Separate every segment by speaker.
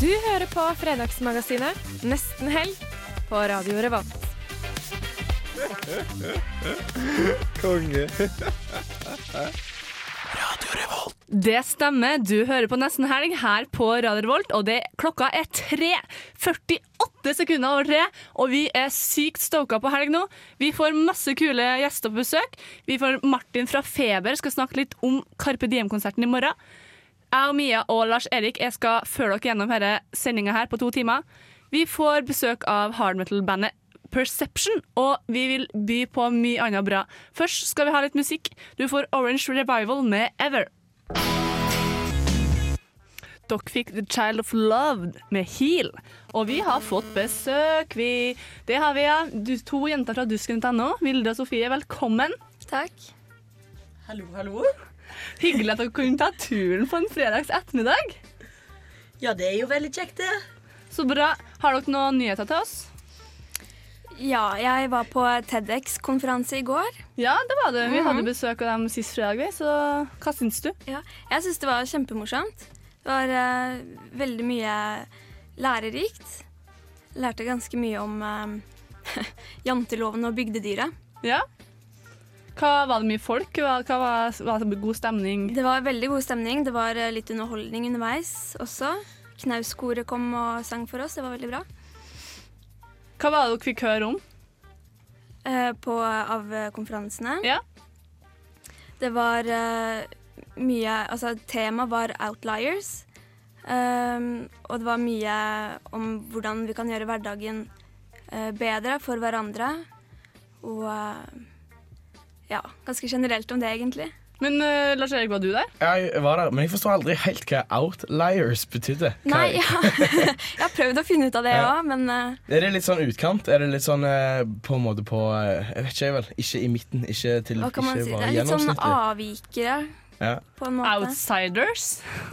Speaker 1: Du hører på Fredagsmagasinet Nesten helg på Radio Revolt.
Speaker 2: Konge.
Speaker 1: Det stemmer. Du hører på Nesten helg her på Radio Revolt, og det, klokka er 3.48 sekunder over tre, og vi er sykt stoka på helg nå. Vi får masse kule gjester på besøk. Vi får Martin fra Feber, skal snakke litt om Carpe Diem-konserten i morgen. Jeg og Mia og Lars Erik jeg skal følge dere gjennom denne sendinga her på to timer. Vi får besøk av hardmetal-bandet Perception, og vi vil by på mye annet bra. Først skal vi ha litt musikk. Du får Orange Revival med Ever. Dere fikk The Child of Love med Heal. Og vi har fått besøk, vi. Det har vi, ja. Du, to jenter fra dusken.no. Vilde og Sofie, velkommen.
Speaker 3: Takk.
Speaker 4: Hallo, hallo.
Speaker 1: Hyggelig at dere kunne ta turen på en fredags ettermiddag.
Speaker 4: Ja, det er jo veldig kjekt, det.
Speaker 1: Så bra. Har dere noen nyheter til oss?
Speaker 3: Ja, jeg var på TEDX-konferanse i går. Mhm.
Speaker 1: Ja, det var det. Eh, Vi hadde besøk av dem sist fredag, vi, så hva syns du?
Speaker 3: Ja, jeg syns det var kjempemorsomt. Det var eh, veldig mye lærerikt. Lærte ganske mye om eh, janteloven og bygdedyra.
Speaker 1: Ja. Hva Var det mye folk? Hva, hva var, var det god stemning?
Speaker 3: Det var veldig god stemning. Det var eh, litt underholdning underveis også. Knauskoret kom og sang for oss. Det var veldig bra.
Speaker 1: Hva var det dere fikk høre om?
Speaker 3: Eh, På, av eh, konferansene.
Speaker 1: Ja.
Speaker 3: Det var eh, mye Altså, temaet var outliers. Ehm, og det var mye om hvordan vi kan gjøre hverdagen eh, bedre for hverandre. Og eh, ja, ganske generelt om det, egentlig.
Speaker 1: Men eh, Lars Erik, var du der?
Speaker 5: Jeg var der, men jeg forstod aldri helt hva outliers betydde. Hva-
Speaker 3: Nei, ja. jeg har prøvd å finne ut av det
Speaker 5: Ja.
Speaker 3: òg, men eh,
Speaker 5: Er det litt sånn utkant? Er det litt sånn eh, på en måte på eh, Jeg vet ikke, jeg vel. Ikke i midten, ikke til
Speaker 3: hva kan man
Speaker 5: ikke
Speaker 3: si? Det
Speaker 5: bare
Speaker 3: er litt sånn
Speaker 5: gjennomsnittlig.
Speaker 3: avvikere,
Speaker 5: Ja.
Speaker 3: på en måte.
Speaker 1: Outsiders.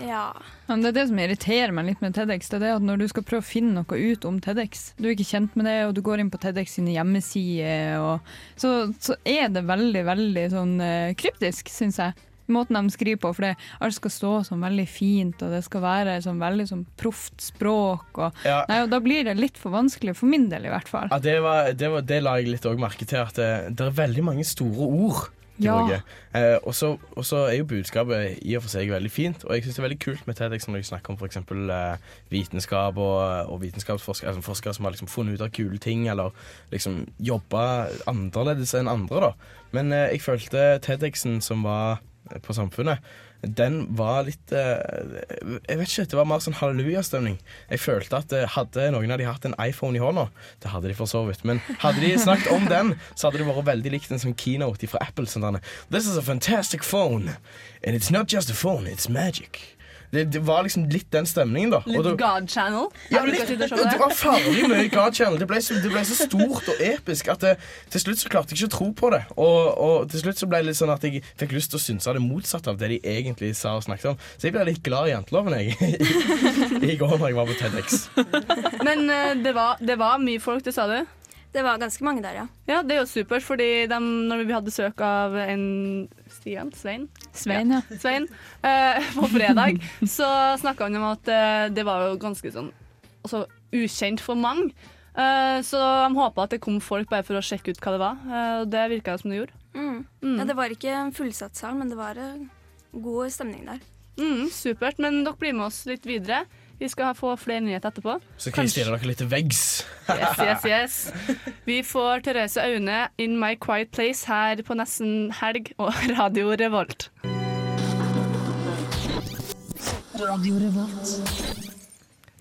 Speaker 3: Ja.
Speaker 6: Men det er det som irriterer meg litt med TEDx. det er det at Når du skal prøve å finne noe ut om TEDx, du er ikke kjent med det, og du går inn på TEDx sine hjemmesider, og, så, så er det veldig, veldig sånn eh, kryptisk, syns jeg. Måten de skriver på, for det, alt skal stå sånn veldig fint, og det skal være sånn veldig sånn proft språk. Og,
Speaker 5: Ja.
Speaker 6: nei, og da blir det litt for vanskelig, for min del i hvert fall.
Speaker 5: Ja, det, var, det, var, det la jeg litt også merke til, at det, det er veldig mange store ord de
Speaker 6: Ja.
Speaker 5: bruker. Eh, og så og så er jo budskapet i og for seg veldig fint, og jeg syns det er veldig kult med TEDx når de snakker om f.eks. Eh, vitenskap og, eh, og vitenskapsforskere altså forskere som har liksom funnet ut av kule ting, eller liksom jobba annerledes enn andre, da. Men eh, jeg følte TEDx-en som var på Samfunnet, den var litt eh, Jeg vet ikke, det var mer sånn hallelujastemning. Jeg følte at eh, hadde noen av de hatt en iPhone i hånda, det hadde de for så vidt, men hadde de snakket om den, så hadde det vært veldig likt en sånn keynote fra Apple. Sånn derne, This is a fantastic phone, and it's not just a phone, it's magic. Det, det var liksom litt den stemningen, da. Og
Speaker 1: Litt
Speaker 5: da-
Speaker 1: God Channel.
Speaker 5: ja,
Speaker 1: Jeg bruker
Speaker 5: litt,
Speaker 1: å
Speaker 5: det
Speaker 1: sitte og se på
Speaker 5: var farlig mye God Channel. Det ble, så, det ble så stort og episk at det, til slutt så klarte jeg ikke å tro på det. Og, og til slutt så ble det litt sånn at jeg fikk lyst til å synse det motsatte av det de egentlig sa og snakket om. Så jeg ble litt glad i janteloven jeg, i, i går når jeg var på TEDx.
Speaker 1: Men eh, det, var, det var mye folk, det sa du?
Speaker 3: Det var ganske mange der, ja.
Speaker 1: Ja, det er jo supert, fordi de, når vi hadde søk av en Stian? Svein?
Speaker 6: Svein, ja.
Speaker 1: Svein eh, på fredag, så snakka han om at eh, det var jo ganske sånn altså, ukjent for mange. Eh, så de håpa at det kom folk bare for å sjekke ut hva det var, eh, og det virka som det gjorde.
Speaker 3: Mm.
Speaker 1: Mm.
Speaker 3: ja. Det var ikke en fullsatt sal, men det var eh, god stemning der.
Speaker 1: Mm, supert, men dere blir med oss litt videre. Vi skal ha- få flere nyheter etterpå.
Speaker 5: Så kan jeg stille dere litt til veggs.
Speaker 1: Yes, yes, yes. Vi får Therese Aune, 'In My Quiet Place', her på nesten helg, og Radio Revolt.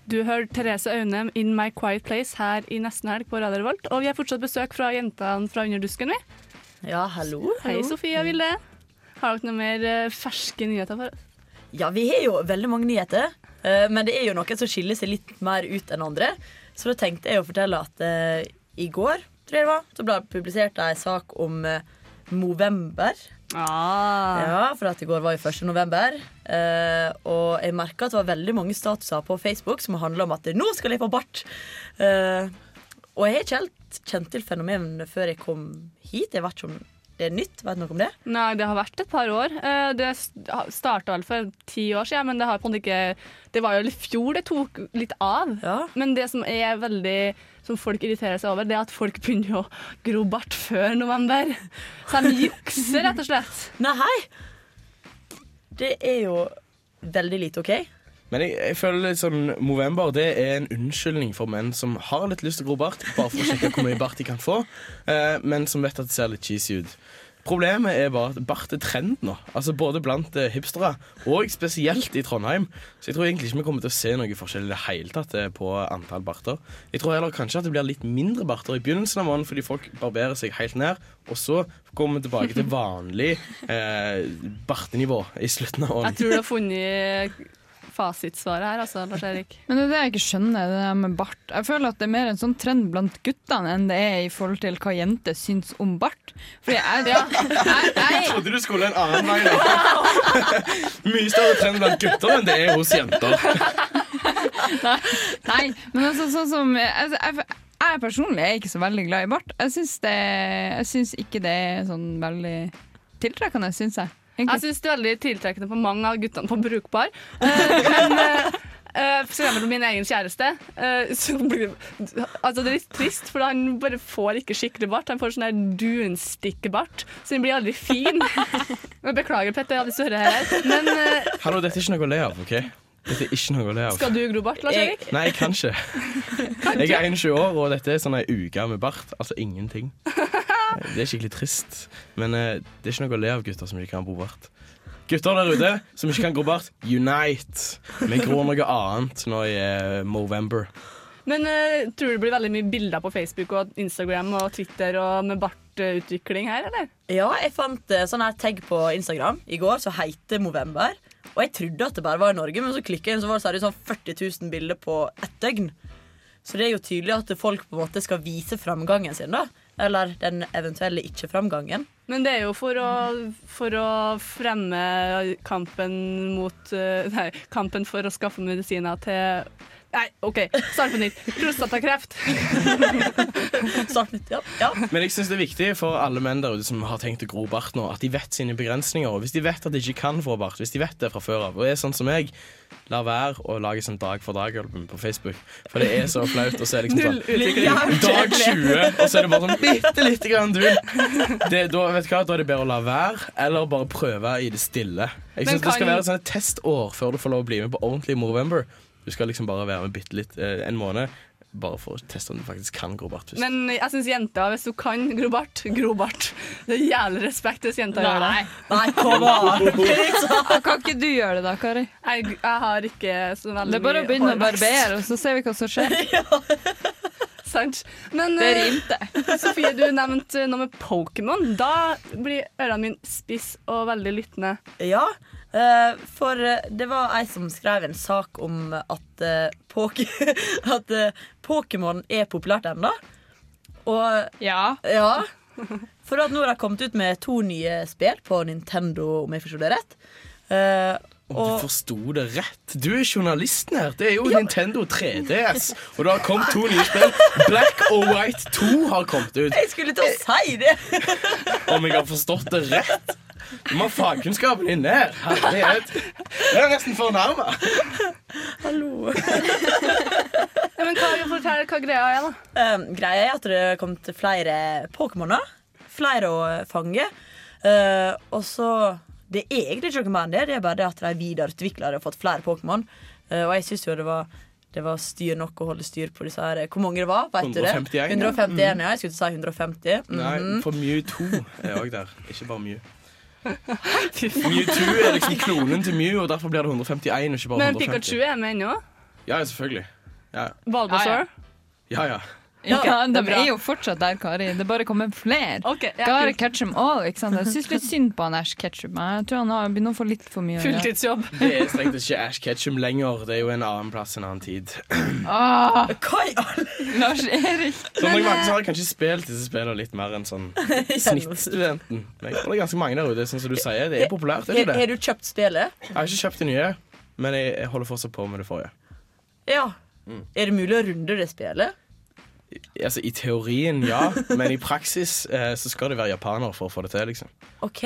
Speaker 1: Du hører Therese Aune, 'In My Quiet Place', her i nesten helg på Radio Revolt. Og vi har fortsatt besøk fra jentene fra Underdusken, vi.
Speaker 4: Ja, hallo.
Speaker 1: Hei, Sofie og Vilde. Har dere noen mer eh, ferske nyheter for oss?
Speaker 4: Ja, vi har jo veldig mange nyheter. Eh, Eh, Men det er jo noen som skiller seg litt mer ut enn andre. Så da tenkte jeg å fortelle at eh, i går tror jeg det var, så ble det publisert en sak om eh, Movember.
Speaker 1: Ah.
Speaker 4: Ja, for at i går var jo 1. november. eh, og jeg merka at det var veldig mange statuser på Facebook som handla om at 'nå skal jeg få bart'. Eh, og jeg har ikke helt kjent til fenomenet før jeg kom hit. Jeg vet ikke om det er nytt. Vet du noe om det?
Speaker 1: Nei, det har vært et par år. Eh, Det starta vel for ti år siden, men det har på en måte ikke Det var jo i fjor det tok litt av.
Speaker 4: Ja.
Speaker 1: Men det som er veldig som folk irriterer seg over, det er at folk begynner å gro bart før november. Så de jukser, rett og slett.
Speaker 4: Nei, hei! Det er jo veldig lite OK.
Speaker 5: Men jeg, jeg føler litt sånn Movember det er en unnskyldning for menn som har litt lyst til å gro bart, bare for å sjekke hvor mye bart de kan få, eh, men som vet at det ser litt cheesy ut. Problemet er bare at bart er trend nå, altså både blant eh, hipstere og spesielt i Trondheim. Så jeg tror egentlig ikke vi kommer til å se noe forskjell i det hele tatt eh, på antall barter. Jeg tror heller kanskje at det blir litt mindre barter i begynnelsen av måneden fordi folk barberer seg helt ned, og så kommer vi tilbake til vanlig eh, bartenivå i slutten av
Speaker 1: Jeg
Speaker 5: året.
Speaker 1: tror du har funnet fasitsvaret her, altså, Lars Erik.
Speaker 6: Men det er det jeg ikke skjønner, det der med bart. Jeg føler at det er mer en sånn trend blant guttene enn det er i forhold til hva jenter syns om bart. Fordi jeg, jeg, jeg,
Speaker 5: trodde du skulle en annen vei. da. Mye større trend blant gutter enn det er hos jenter.
Speaker 6: Nei, men altså sånn som altså, jeg, jeg personlig er ikke så veldig glad i bart. Jeg syns, det, jeg syns ikke det er sånn veldig tiltrekkende, syns jeg.
Speaker 1: Jeg
Speaker 6: Egentlig.
Speaker 1: syns det er veldig tiltrekkende på mange av guttene på Brukbar. Eh, men eh, eh, for eksempel min egen kjæreste. eh, så blir, altså det er litt trist, for han bare får ikke skikkelig bart. Han får sånn der dunstikkebart, så den blir aldri fin. Men Beklager, Petter, hvis du hører her. Men eh,
Speaker 5: Hallo, dette er ikke noe å le av. ok? Dette er ikke noe å le av.
Speaker 1: skal du gro bart, Lars Erik?
Speaker 5: Nei, jeg kan ikke. Jeg er 21 år, og dette er sånn ei uke med bart. Altså ingenting. Det er skikkelig trist. Men eh, det er ikke noe å le av gutter som ikke kan bo bart. Gutter der ute som ikke kan gro bart, unite! Vi gror noe annet nå i eh, Movember.
Speaker 1: Men eh, tror du det blir veldig mye bilder på Facebook og Instagram og Twitter og med bartutvikling her, eller?
Speaker 4: Ja, jeg fant eh, sånn her tagg på Instagram i går som heter Movember. Og jeg trodde at det bare var i Norge, men så klikket jeg inn, så var det seriøst sånn 40 000 bilder på ett døgn. Så det er jo tydelig at folk på en måte skal vise framgangen sin, da. Eller den eventuelle ikke-framgangen.
Speaker 1: Men det er jo for å, for å fremme kampen mot eh, Nei, kampen for å skaffe medisiner til Nei, OK, start på nytt. Prostatakreft.
Speaker 4: Sånn, ja, ja.
Speaker 5: Men jeg synes det er viktig for alle menn der ute som har tenkt å gro bart nå, at de vet sine begrensninger. Og hvis de vet at de ikke kan få bart, hvis de vet det fra før av, og er sånn som meg, la være å lage sånn dag for dag-album på Facebook. For det er så flaut. Og så er det liksom sånn Dag 20, og så er det bare sånn bitte lite grann dun. Det, da, vet du hva, da er det bedre å la være, eller bare prøve i det stille. Jeg
Speaker 1: Men
Speaker 5: synes det
Speaker 1: kan-
Speaker 5: skal være et sånt testår før du får lov å bli med på ordentlig Movember. Du skal liksom bare være med bitte litt eh, en måned, bare for å teste om du faktisk kan gro bart. først.
Speaker 1: Men jeg syns jenter, hvis du kan gro bart, gro bart. Det er jævlig respekt hvis jenter gjør det.
Speaker 4: Nei, kom an!
Speaker 6: Kan ikke du gjøre det da, Kari?
Speaker 1: Jeg, jeg har ikke så veldig
Speaker 6: Det er bare å
Speaker 1: mye
Speaker 6: begynne å
Speaker 1: hårvekst.
Speaker 6: barbere, og så ser vi hva som skjer.
Speaker 1: Sant. Men
Speaker 6: Det
Speaker 1: eh,
Speaker 6: rimte.
Speaker 1: Sofie, du nevnte noe med Pokémon. Da blir ørene mine spiss og veldig lyttende.
Speaker 4: Ja, eh, for eh, det var ei som skrev en sak om at, eh, Poké- at eh, Pokémon er populært ennå. Og
Speaker 6: Ja.
Speaker 4: Ja. For at nå har de kommet ut med to nye spill på Nintendo, om jeg forstår det rett. Eh,
Speaker 5: Om
Speaker 4: og
Speaker 5: du forsto det rett. Du er journalisten her. Det er jo Nintendo 3DS. Og det har kommet to nye spill. Black og White 2 har kommet ut.
Speaker 4: jeg skulle til å si det!
Speaker 5: Om jeg har forstått det rett. Du må ha fagkunnskapen din ned. Herlighet. Jeg er nesten fornærma.
Speaker 4: Hallo.
Speaker 1: Ja, Men hva, fortell hva greia er, da.
Speaker 4: Eh, greia er at det er kommet flere Pokémoner. Flere å fange. Eh, og så Det er egentlig ikke noe mer enn det. Det er bare det at de videreutvikler det og har fått flere Pokémon. Eh, og jeg syns jo det var det var styr nok å holde styr på disse her. Hvor mange det var? Vet du det?
Speaker 5: 151, ja. Mm.
Speaker 4: 151, ja. Jeg skulle til å si 150. Mm.
Speaker 5: Nei, for Mew 2 er òg der. Ikke bare Mew. Mew 2 er liksom klonen til Mew, og derfor blir det 151 og ikke bare
Speaker 1: Men Pikachu
Speaker 5: 150.
Speaker 1: er med ennå.
Speaker 5: Ja, selvfølgelig. Ja,
Speaker 1: Balbasaur.
Speaker 5: ja. ja.
Speaker 6: Ja, de
Speaker 1: det er bra.
Speaker 6: er jo fortsatt der, Kari. Det bare kommer flere.
Speaker 1: Ok, ja,
Speaker 6: Gotta
Speaker 1: kult.
Speaker 6: catch 'em all. Ikke sant? Jeg syns litt synd på han Ash Ketchum. Jeg tror han har begynner å få litt for mye å gjøre.
Speaker 1: Fulltidsjobb.
Speaker 5: Det er strengt tatt ikke Ash Ketchum lenger. Det er jo en annen plass, en annen tid.
Speaker 6: Ah,
Speaker 4: Hva i all
Speaker 6: Lars Erik.
Speaker 5: Så når jeg vant, så har jeg kanskje spilt disse spillene litt mer enn sånn snittstudenten. Men Det er ganske mange der ute, sånn som du sier. Det er populært, er det
Speaker 4: Har
Speaker 5: ikke
Speaker 4: har
Speaker 5: det?
Speaker 4: du kjøpt spillet?
Speaker 5: Jeg har ikke kjøpt det nye, men jeg jeg holder fortsatt på med det forrige.
Speaker 4: Ja.
Speaker 5: Mm.
Speaker 4: Er det mulig å runde det spillet?
Speaker 5: Altså, I teorien ja, men i praksis eh, så skal du være japaner for å få det til. liksom
Speaker 4: OK.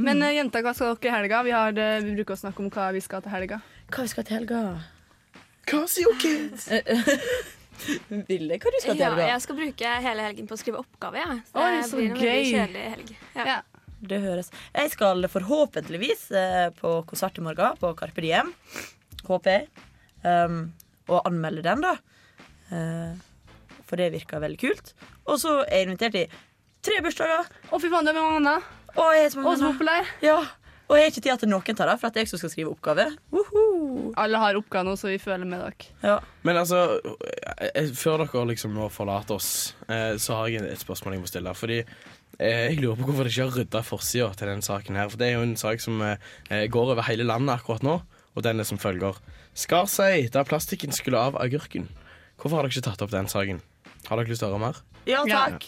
Speaker 1: Men eh, jenter, hva skal dere i helga? Vi, har, eh, vi bruker å snakke om hva vi skal til helga.
Speaker 4: Hva vi skal til helga? Eh,
Speaker 5: Casio Kids!
Speaker 4: Ville, hva du skal til
Speaker 3: Ja,
Speaker 4: helga?
Speaker 3: jeg skal bruke hele helgen på å skrive oppgave. Ja. Så
Speaker 1: Oi,
Speaker 3: det
Speaker 1: så
Speaker 3: blir en veldig
Speaker 1: gøy.
Speaker 3: kjedelig helg. Ja.
Speaker 1: Ja.
Speaker 4: Det høres. Jeg skal forhåpentligvis eh, på konsert i morgen på Carpe Diem. Håper jeg. Um, og anmelde den, da. Eh, for det virker veldig kult. Og så er jeg invitert i tre bursdager.
Speaker 1: Å, fy faen, det er mange annet.
Speaker 4: Og jeg er så
Speaker 1: Å,
Speaker 4: mange
Speaker 1: så
Speaker 4: venner.
Speaker 1: populær.
Speaker 4: Ja. Og jeg har ikke tid til noen tar det, for at det er jeg som skal skrive oppgave. Woohoo!
Speaker 1: Alle har oppgave nå, så vi føler med dere.
Speaker 4: Ja.
Speaker 5: Men altså, eh, eh, før dere liksom nå forlater oss, eh, så har jeg et spørsmål jeg må stille. Fordi eh, jeg lurer på hvorfor de ikke har rydda forsida til den saken her. For det er jo en sak som eh, eh, går over hele landet akkurat nå, og den er som følger. Skar seg da plastikken skulle av agurken. Hvorfor har dere ikke tatt opp den saken? Har dere lyst til å høre mer?
Speaker 4: ja,
Speaker 1: Ja.
Speaker 4: takk.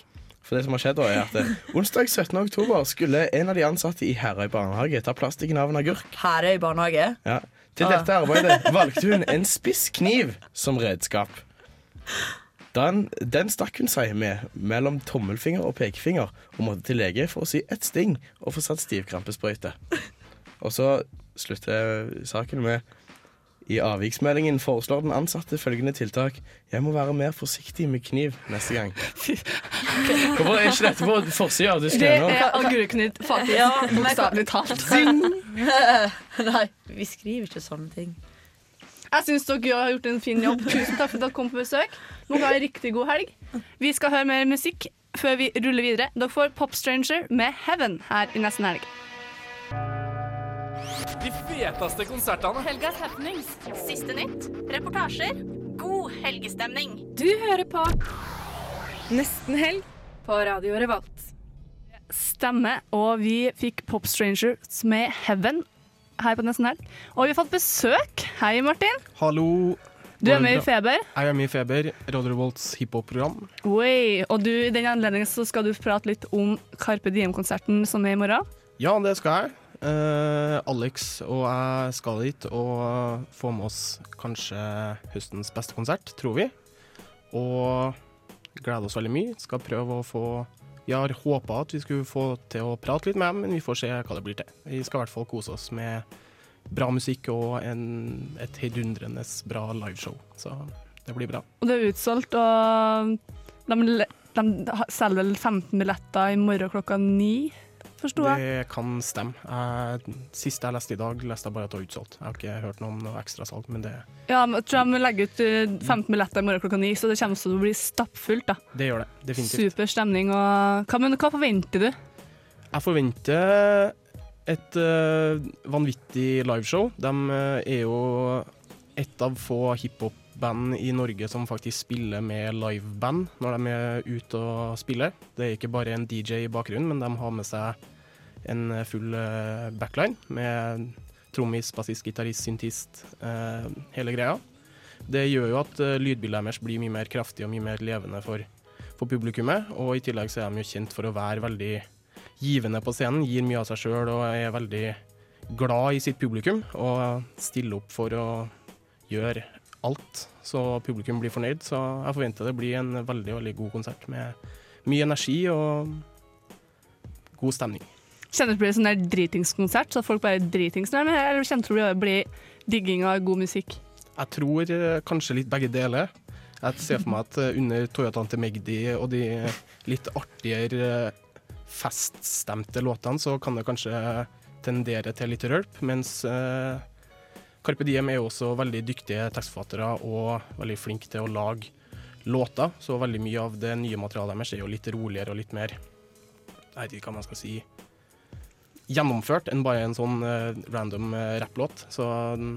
Speaker 5: For det som har skjedd da er at eh, Onsdag 17. oktober skulle en av de ansatte i Herøy barnehage ta plastikken av en agurk.
Speaker 4: Her er jeg i barnehage.
Speaker 5: Ja. Til
Speaker 4: Ah.
Speaker 5: dette arbeidet valgte hun en spiss kniv som redskap. Den, den stakk hun seg med mellom tommelfinger og pekefinger og måtte til lege for å si ett sting og få satt stivkrampesprøyte. Og så slutter saken med I avviksmeldingen foreslår den ansatte følgende tiltak. Jeg må være mer forsiktig med kniv neste gang. Hvorfor er ikke dette på forsida av
Speaker 1: Det
Speaker 5: disklemmeren?
Speaker 1: er agurknytt, faktisk.
Speaker 4: Ja, men-
Speaker 1: Bokstavelig talt.
Speaker 4: Nei, vi skriver ikke sånne ting.
Speaker 1: Jeg syns dere har gjort en fin jobb. Tusen takk for at dere kom på besøk. Må ha en riktig god helg. Vi skal høre mer musikk før vi ruller videre. Dere får Pop Stranger med Heaven her i nesten helg.
Speaker 7: De feteste konsertene.
Speaker 8: Helgas happenings. Siste nytt. Reportasjer. God helgestemning. Du hører på Nesten helg på Radio Revolt.
Speaker 1: Stemme, og vi fikk Pop Stranger med Heaven her på nesten helg. Og vi har fått besøk. Hei, Martin.
Speaker 9: Hallo.
Speaker 1: Du er med i Feber.
Speaker 9: Jeg er med i Feber, Radio Revolts hiphop-program.
Speaker 1: Oi. Og du, i den anledning så skal du prate litt om Carpe Diem-konserten som er i morgen.
Speaker 9: Ja, det skal jeg. Eh, Alex og jeg skal dit og få med oss kanskje høstens beste konsert, tror vi. Og gleder oss veldig mye. Skal prøve å få Vi har håpa at vi skulle få til å prate litt med dem, men vi får se hva det blir til. Vi skal i hvert fall kose oss med bra musikk og en, et heidundrende bra liveshow. Så det blir bra.
Speaker 1: Og det er utsolgt, og de, le- de ha- selger vel 15 billetter i morgen klokka ni, forsto jeg.
Speaker 9: Det kan stemme. Jeg, siste jeg leste i dag, leste jeg bare at det var utsolgt. Jeg har ikke hørt noe om noe ekstrasalg, men det,
Speaker 1: Ja, men jeg tror de legger ut eh, 15 billetter i morgen klokka ni, så det kommer til å bli stappfullt. da.
Speaker 9: det gjør det. Definitivt.
Speaker 1: Super stemning. og hva, Men hva forventer du?
Speaker 9: Jeg forventer et eh, vanvittig liveshow. De eh, er jo et av få hiphop-band i Norge som faktisk spiller med liveband når de er ute og spiller. Det er ikke bare en DJ i bakgrunnen, men de har med seg en full eh, backline med trommis, bassist, gitarist, syntist, eh, hele greia. Det gjør jo at eh, lydbildet deres blir mye mer kraftig og mye mer levende for, for publikummet. Og i tillegg så er de jo kjent for å være veldig givende på scenen, gir mye av seg sjøl og er veldig glad i sitt publikum. Og stiller opp for å gjøre alt så publikum blir fornøyd. Så jeg forventer det blir en veldig, veldig god konsert med mye energi og god stemning.
Speaker 1: Kjenner du det blir en sånn der dritingskonsert, så folk bare er dritings når de er her, eller kjenner du det blir digging av god musikk?
Speaker 9: Jeg tror eh, kanskje litt begge deler. Jeg ser for meg at eh, under Toyotaen til Magdi og de litt artigere eh, feststemte låtene, så kan det kanskje tendere til litt rølp, mens eh, Carpe Diem er jo også veldig dyktige tekstforfattere og veldig flinke til å lage låter, så veldig mye av det nye materialet deres er jo litt roligere og litt mer Jeg vet ikke hva man skal si gjennomført enn bare en sånn eh, random eh, rapplåt. Så mm,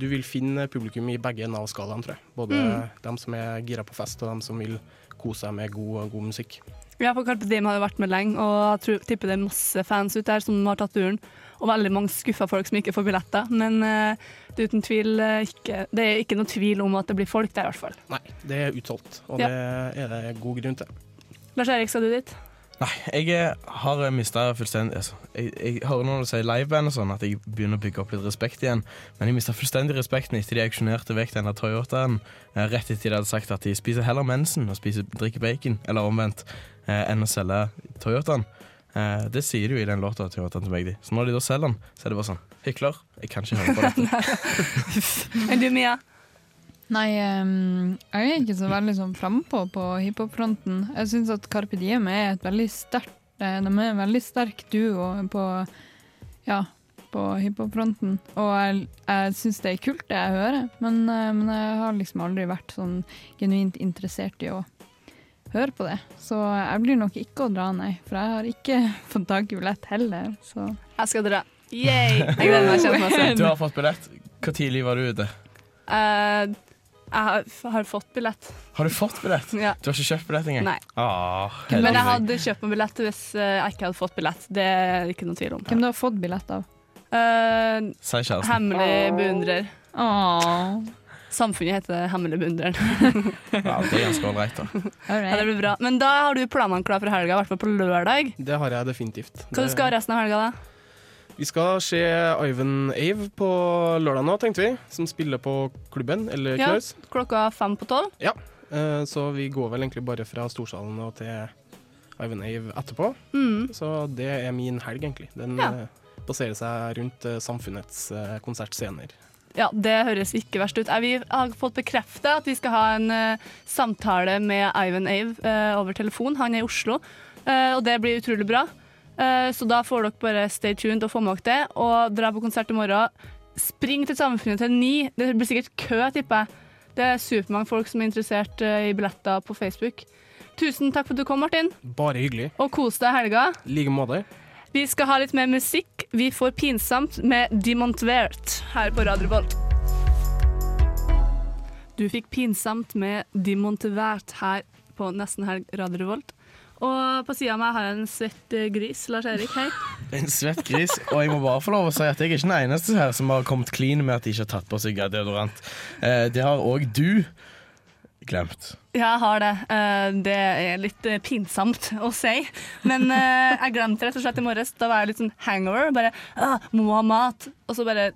Speaker 9: du vil finne publikum i begge ender av skalaen, tror jeg. Både
Speaker 1: Mm.
Speaker 9: dem som er gira på fest, og dem som vil kose seg med god, god musikk.
Speaker 1: Ja, for Carpe Diem har jo vært med lenge, og jeg tror, tipper det er masse fans ute der som har tatt turen. Og veldig mange skuffa folk som ikke får billetter. Men eh, det, er uten tvil, eh, ikke, det er ikke noe tvil om at det blir folk der, i hvert fall.
Speaker 9: Nei, det er utsolgt, og
Speaker 1: Ja.
Speaker 9: det er det god grunn til.
Speaker 1: Lars Erik, skal du dit?
Speaker 5: Nei, jeg eh, har mista fullstendig altså, jeg, jeg hører når du sier liveband og sånn, at jeg begynner å bygge opp litt respekt igjen. Men jeg mista fullstendig respekten etter de auksjonerte vekk den der Toyotaen. eh, Rett etter de hadde sagt at de spiser heller mensen og spiser, drikker bacon, eller omvendt, eh, enn å selge Toyotaen. Eh, det sier de jo i den låta Toyotaen til meg, de. Så når de da selger den, så er det bare sånn Hykler. Jeg kan ikke høre på dette.
Speaker 1: Enn du, Mia?
Speaker 6: Nei, ehm, jeg er ikke så veldig sånn frampå på hiphop-fronten. Jeg syns at Carpe Diem er et veldig sterkt eh, De er en veldig sterk duo på ja, på hiphop-fronten. Og jeg, jeg syns det er kult, det jeg hører, men, eh, men jeg har liksom aldri vært sånn genuint interessert i å høre på det. Så jeg blir nok ikke å dra, nei. For jeg har ikke fått tak i billett heller, så
Speaker 1: Jeg skal dra. Yay! Jeg gleder meg kjempemasse.
Speaker 5: Du har fått billett. Hvor tidlig var du ute?
Speaker 1: Eh, jeg har, har fått billett.
Speaker 5: Har du fått billett?
Speaker 1: Ja.
Speaker 5: Du har ikke kjøpt billett engang? Ah,
Speaker 1: Nei.
Speaker 5: Åh,
Speaker 1: Men jeg
Speaker 5: heldig.
Speaker 1: hadde kjøpt meg billett hvis eh, jeg ikke hadde fått billett. Det er det ikke noe tvil om.
Speaker 6: Hvem du har fått billett av?
Speaker 5: Si kjæresten.
Speaker 1: Hemmelig beundrer. Samfunnet heter Hemmelig beundreren.
Speaker 5: Ja, det er ganske ålreit, da.
Speaker 1: Ja, det blir bra. Men da har du planene klare for helga, i hvert fall på lørdag.
Speaker 9: Det har jeg definitivt.
Speaker 1: Hva
Speaker 9: Det-
Speaker 1: du skal resten av helga, da?
Speaker 9: Vi skal se Ivan Ave på lørdag nå, tenkte vi. Som spiller på klubben, eller
Speaker 1: Ja,
Speaker 9: Knaus.
Speaker 1: klokka fem på tolv.
Speaker 9: Ja. eh, Så vi går vel egentlig bare fra Storsalen og til Ivan Ave etterpå.
Speaker 1: Mm.
Speaker 9: Så det er min helg, egentlig. Den
Speaker 1: Ja.
Speaker 9: eh, baserer seg rundt eh, samfunnets eh, konsertscener.
Speaker 1: Ja, det høres ikke verst ut. Eh, Vi har fått bekrefta at vi skal ha en eh, samtale med Ivan Ave eh, over telefon. Han er i Oslo, eh, og det blir utrolig bra. Eh, så da får dere bare stay tuned og få med dere det, og dra på konsert i morgen. Spring til Samfunnet til ni. Det blir sikkert kø, tipper jeg. Det er supermange folk som er interessert eh, i billetter på Facebook. Tusen takk for at du kom, Martin,
Speaker 9: Bare hyggelig.
Speaker 1: og kos deg i helga.
Speaker 9: I like måte.
Speaker 1: Vi skal ha litt mer musikk. Vi får Pinsomt med Demontvert her på Radio Volt. Du fikk Pinsomt med Demontvert her på Nesten Helg Radio Revolt. Og på sida av meg har jeg en svett eh, gris. Lars Erik, hei.
Speaker 5: En svett gris. Og jeg må bare få lov å si at jeg er ikke den eneste her som har kommet clean med at de ikke har tatt på seg deodorant. Eh, det har òg du glemt.
Speaker 1: Ja, jeg har det. Eh, Det er litt eh, pinsomt å si. Men eh, jeg glemte rett og slett i morges. Da var jeg litt sånn hangover. Bare «Ah, må ha mat. Og så bare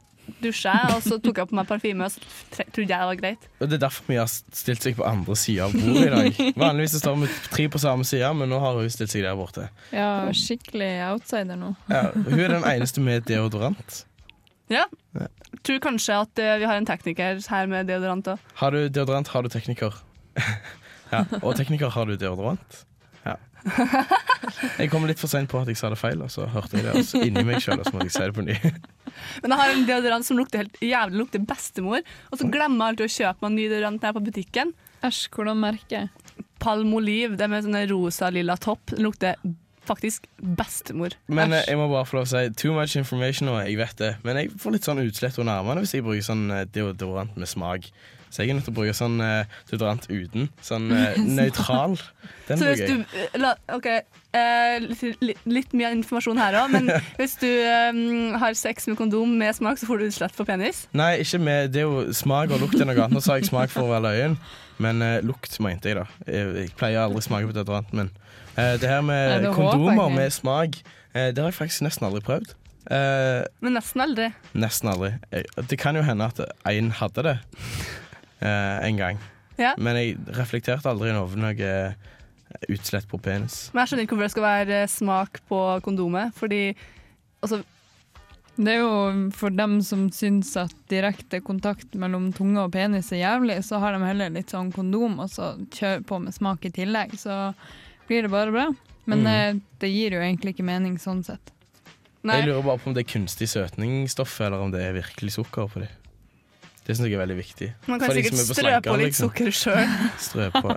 Speaker 1: dusja jeg, og så tok jeg på meg parfyme, og så tre- trodde jeg det var greit.
Speaker 5: Og det er derfor vi har stilt seg på andre sida av bordet i dag. Vanligvis så står vi tre på samme side, men nå har hun stilt seg der borte.
Speaker 6: Ja, skikkelig outsider nå.
Speaker 5: Ja, hun er den eneste med deodorant.
Speaker 1: Ja.
Speaker 5: Ja.
Speaker 1: Tror kanskje at eh, vi har en tekniker her med deodorant òg.
Speaker 5: Har du deodorant, har du tekniker. Ja, og tekniker har du deodorant. Ja. Jeg kom litt for seint på at jeg sa det feil, og så hørte jeg det også inni meg sjøl, og så måtte jeg si det på ny.
Speaker 1: Men jeg har en deodorant som lukter helt jævlig lukter bestemor, og så glemmer jeg alltid å kjøpe meg en ny deodorant når jeg er på butikken.
Speaker 6: Æsj, hvordan merke?
Speaker 1: Palmoliv. Det er med sånne rosa-lilla topp. Den lukter faktisk bestemor.
Speaker 5: Men eh, jeg må bare få lov å si too much information nå, jeg vet det. Men jeg får litt sånn utslett under armene hvis jeg bruker sånn eh, deodorant med smak. Så jeg er nødt til å bruke sånn eh, deodorant uten. Sånn eh, nøytral. Den
Speaker 1: så
Speaker 5: bruker
Speaker 1: hvis
Speaker 5: jeg.
Speaker 1: du eh, la, OK, eh, litt, litt- litt mye informasjon her òg, men hvis du eh, har sex med kondom med smak, så får du utslett på penis.
Speaker 5: Nei, ikke med Det er jo smak og lukt er noe annet. Nå sa jeg smak for å være løyen, men eh, lukt mente jeg, da. Jeg, jeg pleier aldri å smake på deodorant, men eh, det her med
Speaker 1: Nei, det håper jeg
Speaker 5: kondomer
Speaker 1: ikke.
Speaker 5: med smak, eh, det har jeg faktisk nesten aldri prøvd. Eh,
Speaker 1: Men nesten aldri.
Speaker 5: Nesten aldri. Jeg- Det kan jo hende at én hadde det eh, en gang.
Speaker 1: Ja.
Speaker 5: Men jeg reflekterte aldri over noe eh, utslett på penis.
Speaker 1: Men jeg skjønner ikke hvorfor det skal være eh, smak på kondomet, fordi altså,
Speaker 6: Det er jo for dem som syns at direkte kontakt mellom tunge og penis er jævlig, så har de heller litt sånn kondom og så kjør på med smak i tillegg, så blir det bare bra. Men
Speaker 5: Mhm.
Speaker 6: eh, det gir jo egentlig ikke mening sånn sett.
Speaker 5: Jeg lurer bare på om det er kunstig søtningsstoff, eller om det er virkelig sukker på dem. Det syns jeg er veldig viktig.
Speaker 1: Man kan
Speaker 5: For de
Speaker 1: sikkert
Speaker 5: som er på
Speaker 1: strø på
Speaker 5: slankeren,
Speaker 1: litt sukker sjøl.
Speaker 5: Strø på.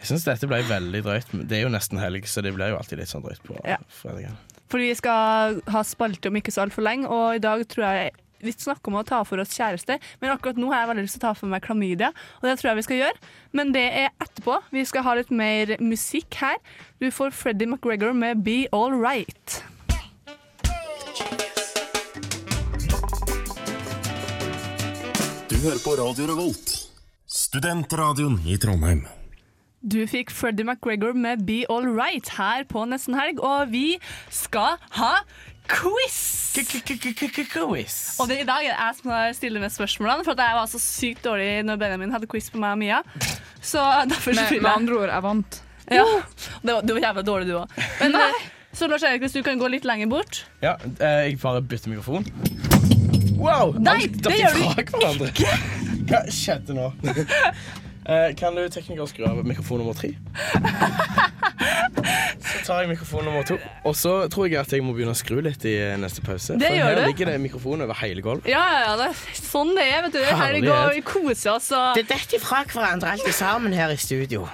Speaker 5: Jeg syns dette ble veldig drøyt. men Det er jo nesten helg, så det blir jo alltid litt sånn drøyt på
Speaker 1: Ja.
Speaker 5: fredagene.
Speaker 1: Fordi vi skal ha spalte om ikke så altfor lenge, og i dag tror jeg vi snakker om å ta for oss kjærester, men akkurat nå har jeg veldig lyst til å ta for meg klamydia, og det tror jeg vi skal gjøre. Men det er etterpå. Vi skal ha litt mer musikk her. Du får Freddie McGregor med Be All Right.
Speaker 10: Du hører på Radio Revolt, studentradioen i Trondheim.
Speaker 1: Du fikk Freddie McGregor med Be All Right her på Nesten Helg, og vi skal ha quiz!
Speaker 5: Quiz.
Speaker 1: Og det, i dag er det jeg som har stiller med spørsmålene, for at jeg var så sykt dårlig når Benjamin hadde quiz på meg og Mia. Så derfor så
Speaker 6: Med-
Speaker 1: fyller
Speaker 6: med
Speaker 1: jeg-
Speaker 6: andre ord, jeg vant.
Speaker 1: Ja, det var, du var jævla dårlig, du òg. Men eh, så Lars Erik, hvis du kan gå litt lenger bort
Speaker 5: Ja, eh, jeg bare bytter mikrofon. Wow!
Speaker 1: Nei,
Speaker 5: alt
Speaker 1: det
Speaker 5: datt
Speaker 1: gjør
Speaker 5: ifra hverandre. Hva skjedde nå? Eh, kan du tekniker skru av mikrofon nummer tre? Så tar jeg mikrofon nummer to. Og så tror jeg at jeg må begynne å skru litt i eh, neste pause.
Speaker 1: Det
Speaker 5: for
Speaker 1: gjør
Speaker 5: her
Speaker 1: du.
Speaker 5: ligger det mikrofon over hele gulvet.
Speaker 1: Ja, ja, ja. Det, sånn det er, vet du. Her det går vi
Speaker 5: Herlighet.
Speaker 1: koser oss og
Speaker 5: Det detter ifra hverandre alt sammen her i studio.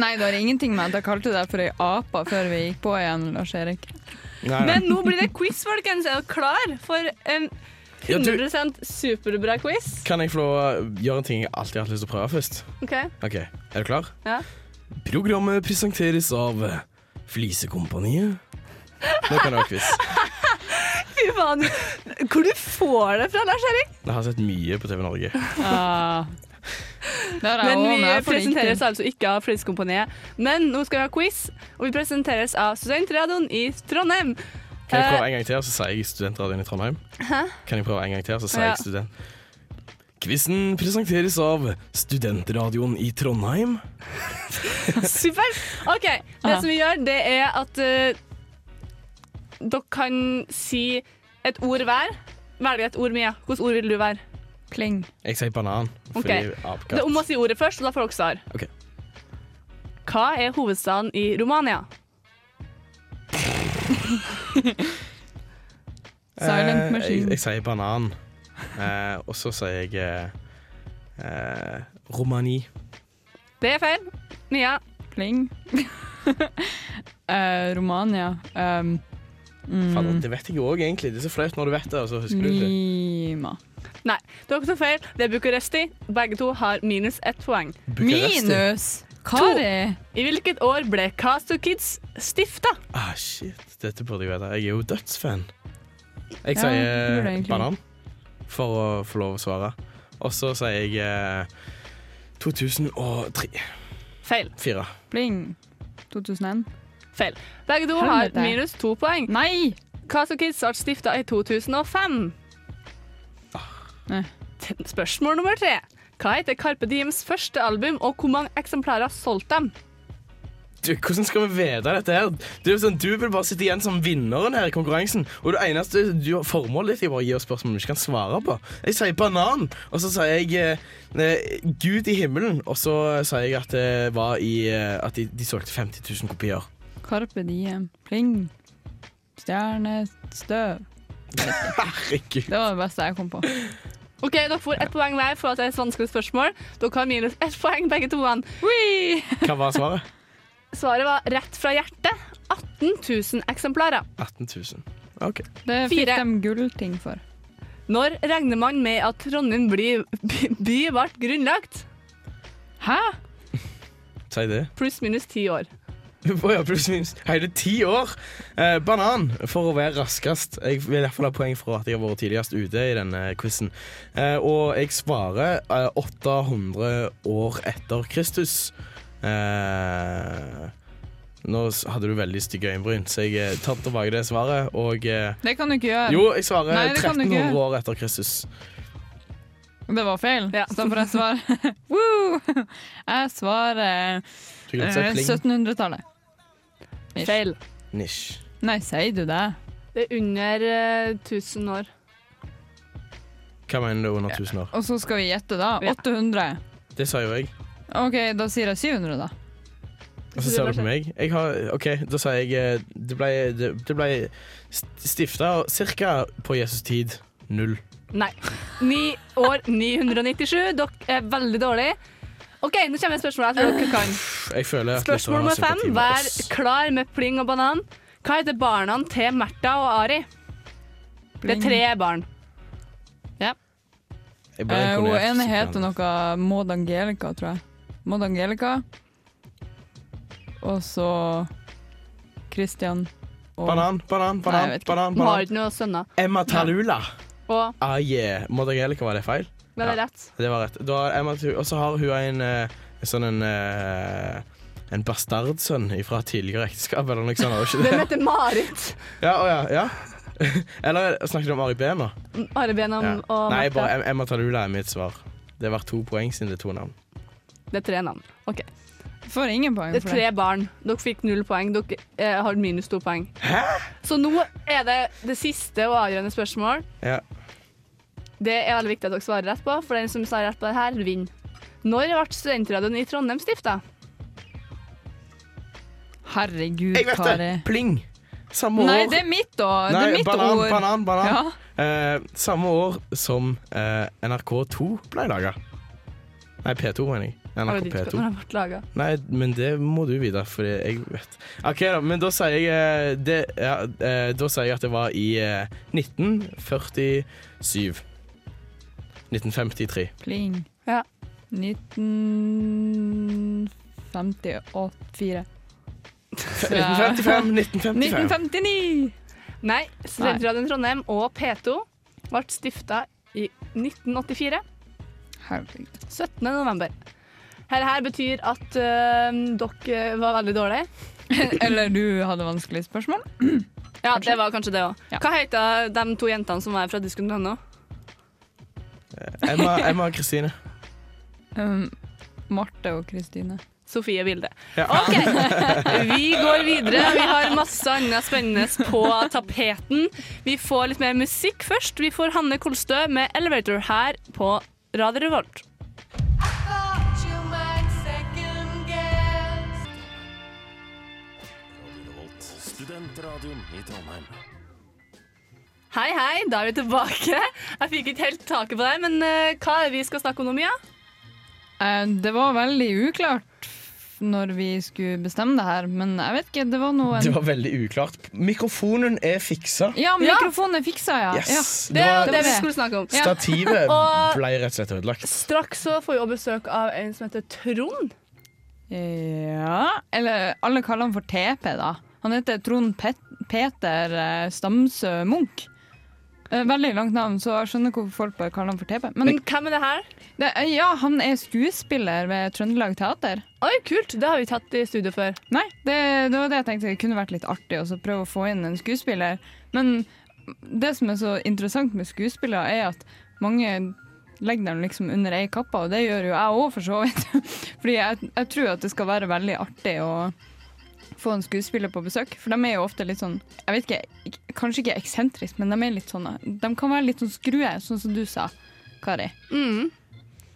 Speaker 6: Nei, det har ingenting med at jeg kalte deg for ei ape før vi gikk på igjen, Lars Erik.
Speaker 1: Men nå blir det quiz, folkens. Er dere klar for en
Speaker 5: Ja, du-
Speaker 1: 100 superbra quiz?
Speaker 5: Kan jeg få lov å gjøre en ting jeg alltid har hatt lyst til å prøve først?
Speaker 1: OK.
Speaker 5: Ok, Er du klar?
Speaker 1: Ja.
Speaker 5: Programmet presenteres av Flisekompaniet. Nå kan du ha quiz.
Speaker 1: Fy faen. Hvor du får det fra, Lars Erik?
Speaker 5: Jeg har sett mye på TV Norge.
Speaker 1: Men vi presenteres altså ikke av Flisekompaniet. Men nå skal vi ha quiz, og vi presenteres av Studentradioen i Trondheim.
Speaker 5: Kan jeg
Speaker 1: Eh,
Speaker 5: prøve en gang til, så sier jeg Studentradioen i Trondheim?
Speaker 1: Hæ?
Speaker 5: Kan jeg prøve en gang til, så sier
Speaker 1: Ja.
Speaker 5: jeg student... Quizen presenteres av Studentradioen i Trondheim.
Speaker 1: Supert! OK, det
Speaker 5: Aha.
Speaker 1: som vi gjør, det er at eh, dere kan si et ord hver. Velg et ord, Mia. Hvilket ord vil du være?
Speaker 6: Pling.
Speaker 5: Jeg sier banan.
Speaker 1: Ok.
Speaker 5: Fordi
Speaker 1: Det er
Speaker 5: apekatt.
Speaker 1: om å si ordet først, og da får dere svar.
Speaker 5: Ok.
Speaker 1: Hva er hovedstaden i Romania?
Speaker 6: Silent
Speaker 5: Eh,
Speaker 6: machine.
Speaker 5: Jeg, jeg sier banan. Eh, og så sier jeg eh, eh, Romani.
Speaker 1: Det er feil. Mia.
Speaker 6: Pling. Eh, Romania. Um, mm,
Speaker 5: Fader, det vet jeg jo òg, egentlig. Det er så flaut når du vet det, og så husker du
Speaker 1: Mm.
Speaker 5: det.
Speaker 6: Lima.
Speaker 1: Nei, dere tok feil. Det er Bucuresti. Begge to har minus ett poeng.
Speaker 5: Bucuresti.
Speaker 6: Minus?
Speaker 1: Kari! I hvilket år ble Casto Kids stifta?
Speaker 5: Ah, shit. Dette burde jeg vite. Jeg er jo dødsfan. Jeg
Speaker 1: Ja, det
Speaker 5: sier eh,
Speaker 1: burde jeg egentlig.
Speaker 5: banan for å få lov å svare. Og så sier jeg eh, 2003.
Speaker 1: Feil.
Speaker 5: Fire.
Speaker 6: Pling. 2001.
Speaker 1: Feil. Begge to har
Speaker 6: Helvete.
Speaker 1: minus to poeng.
Speaker 6: Nei!
Speaker 1: Casto Kids ble stifta i 2005.
Speaker 6: Ah.
Speaker 1: T- Spørsmål nummer tre. Hva heter Carpe Diems første album, og hvor mange eksemplarer solgte dem?
Speaker 5: Du, hvordan skal vi vite dette her? Det er jo sånn, Du vil bare sitte igjen som vinneren her i konkurransen. Og det eneste du har formålet ditt er bare å gi oss spørsmål du ikke kan svare på. Jeg sier banan, og så sier jeg eh, eh, Gud i himmelen. Og så sier jeg at det var i eh, At de, de solgte 50 000 kopier.
Speaker 6: Carpe diem. Pling. Stjernestøv.
Speaker 5: Herregud.
Speaker 6: Det var det beste jeg kom på.
Speaker 1: Ok, Dere får ett poeng hver for at det er et vanskelig spørsmål. Dere har minus ett poeng, begge to.
Speaker 5: Hva var svaret?
Speaker 1: Svaret var rett fra hjertet. 18 000 eksemplarer.
Speaker 5: 18 000. OK.
Speaker 6: Det fikk
Speaker 1: Fire.
Speaker 6: de gullting for.
Speaker 1: Når regner man med at Trondheim blir, by, by ble grunnlagt?
Speaker 6: Hæ?
Speaker 5: Si det.
Speaker 1: Pluss minus ti år.
Speaker 5: Å ja, pluss minus hele ti år. Eh, banan for å være raskest. Jeg vil iallfall ha poeng for at jeg har vært tidligst ute i denne quizen. Eh, og jeg svarer eh, 800 år etter Kristus. Eh, nå s- hadde du veldig stygge øyenbryn, så jeg eh, tar tilbake det svaret. Og eh,
Speaker 6: Det kan du ikke gjøre.
Speaker 5: Jo, jeg svarer
Speaker 6: Nei, det kan du
Speaker 5: 1300
Speaker 6: ikke gjøre.
Speaker 5: år etter Kristus.
Speaker 6: Det var feil, så da får jeg svar. Woo! Jeg svarer
Speaker 5: Du kan si
Speaker 6: eh,
Speaker 5: pling.
Speaker 6: 1700-tallet. Ish.
Speaker 1: Feil.
Speaker 5: Nish.
Speaker 6: Nei, sier du det?
Speaker 1: Det er under eh, 1000 år.
Speaker 5: Hva mener du under 1000 år?
Speaker 6: Og så skal vi gjette, da. 800.
Speaker 5: Det sa jo jeg.
Speaker 6: OK, da sier jeg 700, da.
Speaker 5: Og så ser du på meg. Jeg har, ok, Da sier jeg eh, Det ble, det, det ble stifta ca. på Jesus tid. Null.
Speaker 1: Nei. Ni år 997. Dere er eh, veldig dårlige. OK, nå kommer spørsmålet jeg tror dere kan.
Speaker 5: Jeg føler at
Speaker 1: Spørsmål
Speaker 5: lytterne har
Speaker 1: nummer fem.
Speaker 5: sympati med
Speaker 1: Vær
Speaker 5: oss.
Speaker 1: klar med pling og banan. Hva heter barna til Märtha og Ari? Det
Speaker 6: Pling.
Speaker 1: er tre barn.
Speaker 5: Jeg ble
Speaker 6: Eh, hun
Speaker 5: imponert,
Speaker 6: ene
Speaker 5: skikkelig.
Speaker 6: heter noe Maud Angelica, tror jeg. Maud Angelica. Og så Christian og
Speaker 5: Banan, banan,
Speaker 1: Nei, jeg
Speaker 5: banan.
Speaker 1: vet ikke.
Speaker 5: banan,
Speaker 1: Hun har
Speaker 5: banan.
Speaker 1: ikke noe sønner.
Speaker 5: Emma Talula.
Speaker 1: Og
Speaker 5: Ah, yeah. Maud Angelica, var det feil?
Speaker 1: ble det rett?
Speaker 5: Det var rett. Da har Emma Talula, og så har hun en, eh, en sånn en eh, en bastardsønn fra tidligere ekteskap, eller noe sånt. var ikke det?
Speaker 1: Hvem heter Marit?
Speaker 5: Ja, å ja, ja. Eller eh, snakket du om Ari Behn nå?
Speaker 1: Are Benham
Speaker 5: Ja.
Speaker 1: og
Speaker 5: Nei,
Speaker 1: Martha.
Speaker 5: bare Em- Emma Talula er mitt svar. Det var to poeng siden det er to navn.
Speaker 1: Det er tre navn. OK.
Speaker 6: Får ingen poeng
Speaker 1: Det er
Speaker 6: for
Speaker 1: tre
Speaker 6: det.
Speaker 1: barn. Dere fikk null poeng. Dere eh, har minus to poeng. Hæ? Så nå er det det siste og avgjørende spørsmål.
Speaker 5: Ja.
Speaker 1: Det er veldig viktig at dere svarer rett på, for den som svarer rett på det her, vinner. Når ble studentradioen i Trondheim stifta?
Speaker 6: Herregud,
Speaker 5: Jeg vet det!
Speaker 6: Kari.
Speaker 5: Pling! Samme år.
Speaker 6: Nei, det er mitt, da. Det
Speaker 5: Nei,
Speaker 6: er mitt
Speaker 5: banan,
Speaker 6: ord.
Speaker 5: banan, banan,
Speaker 6: Ja.
Speaker 5: Eh, samme år som eh, NRK2 ble laga. Nei, P2, mener jeg. NRK
Speaker 1: Jeg vet ikke
Speaker 5: P2.
Speaker 1: når den ble laget.
Speaker 5: Nei, men det må du vite, for jeg vet OK, da, men da sier jeg eh, det, ja, eh, Da sier jeg at det var i eh, 1947. 1953.
Speaker 6: Pling.
Speaker 1: Ja.
Speaker 6: 1954.
Speaker 5: 1955, 1955.
Speaker 6: 1959!
Speaker 1: Nei, studentradioen i Trondheim og P2 ble stifta i 1984. 17. november. Dette her betyr at eh, dere var veldig dårlige.
Speaker 6: Eller du hadde vanskelige spørsmål?
Speaker 1: Ja, det var kanskje det òg.
Speaker 6: Ja.
Speaker 1: Hva heter de to jentene som var fra Disco.no?
Speaker 5: Emma, Emma og Kristine.
Speaker 6: Um, Marte og Kristine.
Speaker 1: Sofie Vilde.
Speaker 5: Ja.
Speaker 1: OK, vi går videre. Vi har masse annet spennende på tapeten. Vi får litt mer musikk først. Vi får Hanne Kolstø med 'Elevator' her på Radio Revolt.
Speaker 10: Studentradioen i Trondheim.
Speaker 1: Hei, hei, da er vi tilbake. Jeg fikk ikke helt taket på deg, men eh, hva er det vi skal snakke om nå, Mia?
Speaker 6: Eh, Det var veldig uklart f- når vi skulle bestemme det her, men jeg vet ikke, det var noe
Speaker 5: Det var veldig uklart. Mikrofonen er fiksa.
Speaker 6: Ja, men mikrofonen er fiksa, ja.
Speaker 5: Yes,
Speaker 6: ja.
Speaker 5: det var-
Speaker 1: Det vi skulle snakke om.
Speaker 5: Stativet
Speaker 1: Og
Speaker 5: ble rett og slett ødelagt.
Speaker 1: straks så får vi også besøk av en som heter Trond.
Speaker 6: Ja Eller alle kaller han for TP, da. Han heter Trond Pet Peter eh, Stamsø Munch. Eh, Veldig langt navn, så jeg skjønner hvorfor folk bare kaller han for TP. Men
Speaker 1: Men hvem er det her?
Speaker 6: det, eh, ja, han er skuespiller ved Trøndelag Teater.
Speaker 1: Oi, kult! Det har vi tatt i studio før.
Speaker 6: Nei, det, det var det jeg tenkte det kunne vært litt artig også, å prøve å få inn en skuespiller. Men det som er så interessant med skuespillere, er at mange legger dem liksom under ei kappe, og det gjør jo jeg òg, for så vidt. Fordi jeg, jeg tror at det skal være veldig artig å få en skuespiller på besøk, for de er jo ofte litt sånn Jeg vet ikke, ik- kanskje ikke eksentrisk, men de er litt sånn De kan være litt sånn skrue, sånn som du sa, Kari.
Speaker 1: Mm.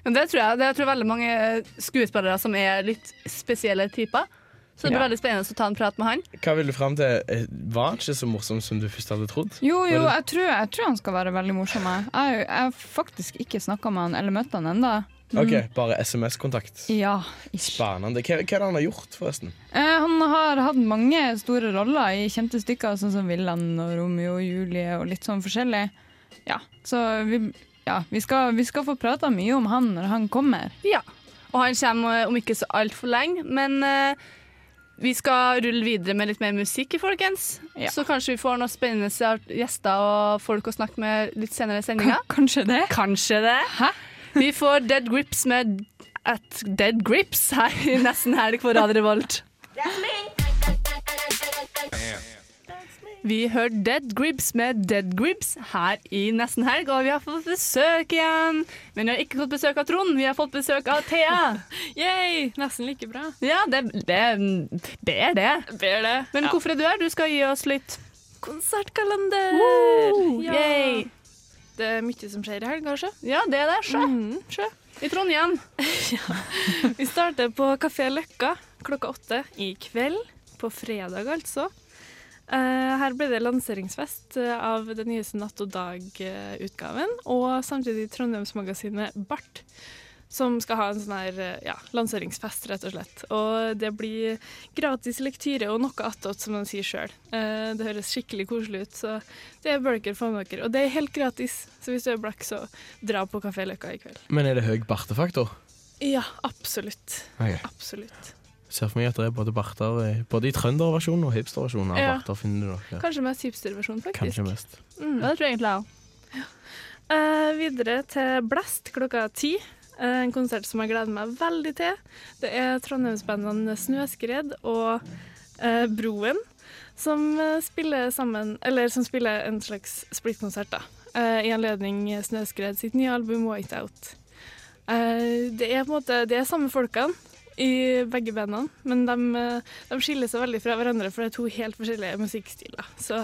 Speaker 1: Men det tror jeg. Det er, tror jeg veldig mange eh, skuespillere som er litt spesielle typer. Så det blir
Speaker 5: Ja.
Speaker 1: veldig spennende å ta en prat med han.
Speaker 5: Hva vil du fram til? Eh, Var han ikke så morsom som du først hadde trodd?
Speaker 6: Jo, jo,
Speaker 5: Var
Speaker 6: jeg tror, jeg tror han skal være veldig morsom. Jeg Jeg har jo- jeg har faktisk ikke snakka med han eller møtt han ennå.
Speaker 5: det- OK, bare SMS-kontakt.
Speaker 6: Ja.
Speaker 5: Spanende. Hva, hva er det han har gjort, forresten?
Speaker 6: Eh, han har hatt mange store roller i kjente stykker, sånn som 'Villan' og 'Romeo og Julie' og litt sånn forskjellig. Ja, så vi, ja, vi, skal, vi skal få prata mye om han når han kommer.
Speaker 1: Ja. Og han kommer eh, om ikke så altfor lenge, men eh, vi skal rulle videre med litt mer musikk, folkens. Så kanskje vi får noen spennende gjester og folk å snakke med litt senere i sendinga.
Speaker 6: Kanskje det.
Speaker 1: Kanskje det. Vi får Dead Grips med at Dead Grips her i nesten helg på Radio Revolt. Vi hørte Dead Grips med Dead Grips her i nesten helg, og vi har fått besøk igjen. Men vi har ikke fått besøk av Trond, vi har fått besøk av Thea.
Speaker 11: Yay, nesten like bra.
Speaker 1: Ja, det, det, det er det. Men
Speaker 11: ja.
Speaker 1: hvorfor er du her? Du skal gi oss litt
Speaker 11: Konsertkalender!
Speaker 1: Woo,
Speaker 11: Ja.
Speaker 1: yay.
Speaker 11: Det er mye som skjer i helg, kanskje? Mm.
Speaker 1: Ja, det er det. Sjø. I Trondheim.
Speaker 11: Vi starter på Kafé Løkka klokka åtte i kveld. På fredag, altså. Eh, her ble det lanseringsfest eh, av den nyeste Natt og dag-utgaven, og samtidig Trondheimsmagasinet Bart. som skal ha en sånn her eh, ja, lanseringsfest, rett og slett. Og det blir gratis lektyre og noe attåt, som de sier sjøl. Det høres skikkelig koselig ut, så det bør dere få med dere. Og det er helt gratis, så hvis du er blakk, så dra på Kafé Løkka i kveld.
Speaker 5: Men er det høy bartefaktor?
Speaker 11: Ja, absolutt.
Speaker 5: Ok.
Speaker 11: Absolutt.
Speaker 5: Ser for meg at det er både barter eh, Både i trønderversjonen og hipsterversjonen av
Speaker 11: Ja.
Speaker 5: barter finner du nok. ja.
Speaker 11: Kanskje mest hipsterversjon, faktisk.
Speaker 5: Kanskje mest.
Speaker 11: Mm, det tror jeg egentlig jeg òg. videre til Blast klokka ti. Eh, En konsert som jeg gleder meg veldig til. Det er trondheimsbandene Snøskred og eh, Broen som eh, spiller sammen Eller som spiller en slags splittkonsert, da. eh, I anledning Snøskred sitt nye album White Out. Eh, det er på en måte Det er samme folkene i begge bandene, men de, eh, de skiller seg veldig fra hverandre, for det er to helt forskjellige musikkstiler. Så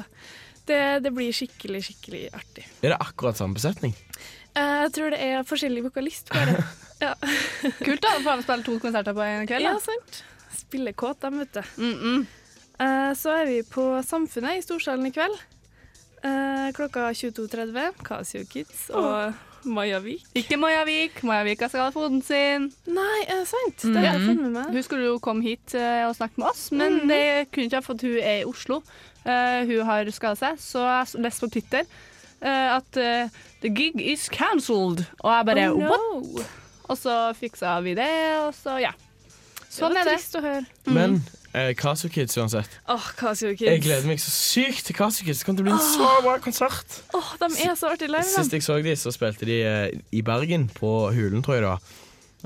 Speaker 11: det, det blir skikkelig, skikkelig artig.
Speaker 5: Er det akkurat samme besetning?
Speaker 11: Eh, Jeg tror det er forskjellig vokalist. Bare. Ja.
Speaker 1: Kult da, å få spille to konserter på en kveld. da.
Speaker 11: Ja, sant. Spillekåt, dem, vet du. Eh, Så er vi på Samfunnet i Storsalen i kveld. Eh, Klokka 22.30. Casio Kids og Majavik.
Speaker 1: Ikke Majavik. Majavika skal ha foten sin. Mm.
Speaker 11: Nei, er det sant? Det har jeg fått med meg.
Speaker 1: Hun skulle jo komme hit eh, og snakke med oss, men
Speaker 11: Mhm.
Speaker 1: det kunne ikke jeg, for at hun er i Oslo. Eh, hun har skadet seg, så jeg s- leste på Twitter eh, at eh, the gig is cancelled. Og jeg bare
Speaker 11: Oh, no.
Speaker 1: what? Og så fiksa vi det, og så ja. Sånn
Speaker 11: det var
Speaker 1: er det.
Speaker 11: trist å høre.
Speaker 5: Men eh, Casio Kids uansett.
Speaker 11: Åh, Casio Mm. Kids.
Speaker 5: Jeg gleder meg så sykt til Casio Kids. Det kommer til å bli en så
Speaker 11: Åh.
Speaker 5: bra konsert.
Speaker 11: Åh, de er så artige live.
Speaker 5: Sist
Speaker 11: dem.
Speaker 5: jeg så de, så spilte de eh, i Bergen, på Hulen, tror jeg det var.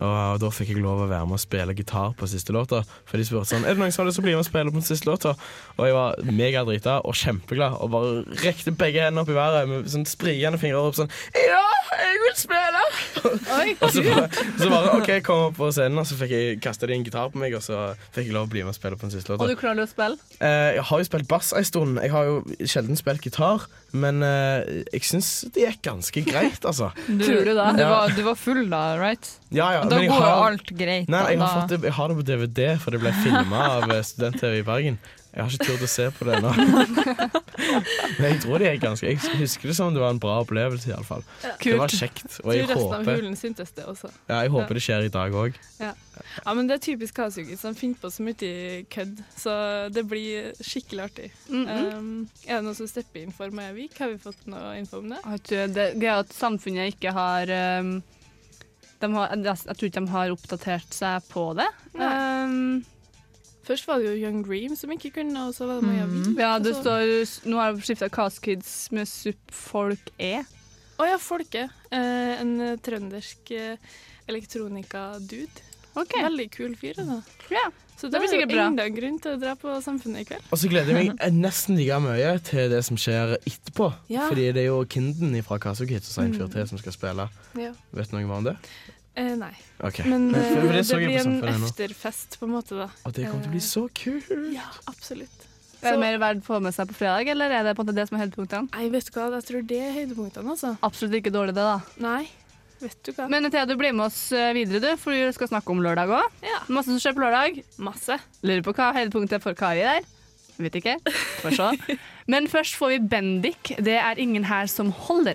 Speaker 5: Og da fikk jeg lov å være med og spille gitar på siste låta. For de spurte sånn Er det noen som har lyst til å bli med og spille på den siste låta? Og jeg var megadrita og kjempeglad og bare rekte begge hendene opp i været med sånn sprikende fingre opp sånn. Ja, jeg vil spille!
Speaker 1: Oi,
Speaker 5: Og så bare, så bare OK, kom opp på scenen, og så fikk jeg kasta de en gitar på meg, og så fikk jeg lov å bli med og spille på den siste låta.
Speaker 1: Og du klarer å spille?
Speaker 5: Eh, jeg har jo spilt bass en stund. Jeg har jo sjelden spilt gitar. Men eh, jeg syns det gikk ganske greit, altså.
Speaker 6: Du, du,
Speaker 5: Ja.
Speaker 6: var, du var full da, right?
Speaker 5: Ja, ja,
Speaker 6: da
Speaker 5: men jeg
Speaker 6: går jo
Speaker 5: har-
Speaker 6: alt greit.
Speaker 5: Nei, jeg har,
Speaker 6: da.
Speaker 5: fått det, jeg har det på DVD, for det ble filma av eh, student-TV i Bergen. Jeg har ikke turt å se på det ennå. Men jeg tror det gikk ganske Jeg husker det som om det var en bra opplevelse, iallfall.
Speaker 11: Ja.
Speaker 5: Det var kjekt. Og jeg
Speaker 11: tror resten av
Speaker 5: håper,
Speaker 11: hulen syntes det også.
Speaker 5: ja, jeg
Speaker 11: Ja.
Speaker 5: håper det skjer i dag òg.
Speaker 11: Ja. ja, men det er typisk Kasugis. De finner på så mye kødd, så det blir skikkelig artig.
Speaker 1: Mhm.
Speaker 11: um, er det noen som stepper inn for Majavik? Har vi fått noe info om det?
Speaker 1: Jeg vet ikke, Det det er jo at samfunnet ikke har, um, de har Jeg jeg tror ikke de har oppdatert seg på det. Um,
Speaker 11: Først var det jo Young Dream som ikke kunne, og så var det Majavik.
Speaker 1: Mm. Ja, det
Speaker 11: Og så-
Speaker 1: står Nå har jeg skifta Cast Kids med Sup Folk E.
Speaker 11: Å ja, Folke. Eh, en eh, trøndersk eh, elektronika-dude. Veldig kul fyr, altså. Så det,
Speaker 1: det blir
Speaker 11: blir
Speaker 1: sikkert
Speaker 11: jo
Speaker 1: bra.
Speaker 11: enda en grunn til å dra på Samfunnet i kveld.
Speaker 5: Og så gleder jeg meg nesten like mye til det som skjer etterpå.
Speaker 11: Ja. Mm.
Speaker 5: Fordi det er jo Kinden fra Kasukids og Seinfjord T som skal spille.
Speaker 11: Ja.
Speaker 5: Vet noen hva om det?
Speaker 11: Eh, nei.
Speaker 5: Ok.
Speaker 11: Men
Speaker 5: For- for
Speaker 11: eh,
Speaker 5: det
Speaker 11: det,
Speaker 5: så jeg på
Speaker 11: blir en eh,
Speaker 5: Samfunnet nå.
Speaker 11: efterfest, på en måte, da.
Speaker 5: Og det kommer til å bli Mhm. så kult!
Speaker 11: Ja, absolutt.
Speaker 1: Er
Speaker 11: Så-
Speaker 1: det mer verdt å få med seg på fredag, eller er det på en måte det som er høydepunktene?
Speaker 11: Nei, vet du hva, jeg tror det er høydepunktene, altså.
Speaker 1: Absolutt ikke dårlig, det, da.
Speaker 11: Nei, vet du hva.
Speaker 1: Men Thea, du blir med oss eh, videre, du, for du skal snakke om lørdag òg. Masse som skjer på lørdag.
Speaker 11: Masse.
Speaker 1: Lurer på hva høydepunktet er for Kari der. Vet ikke. Får se. Men først får vi Bendik. Det er ingen her som holder.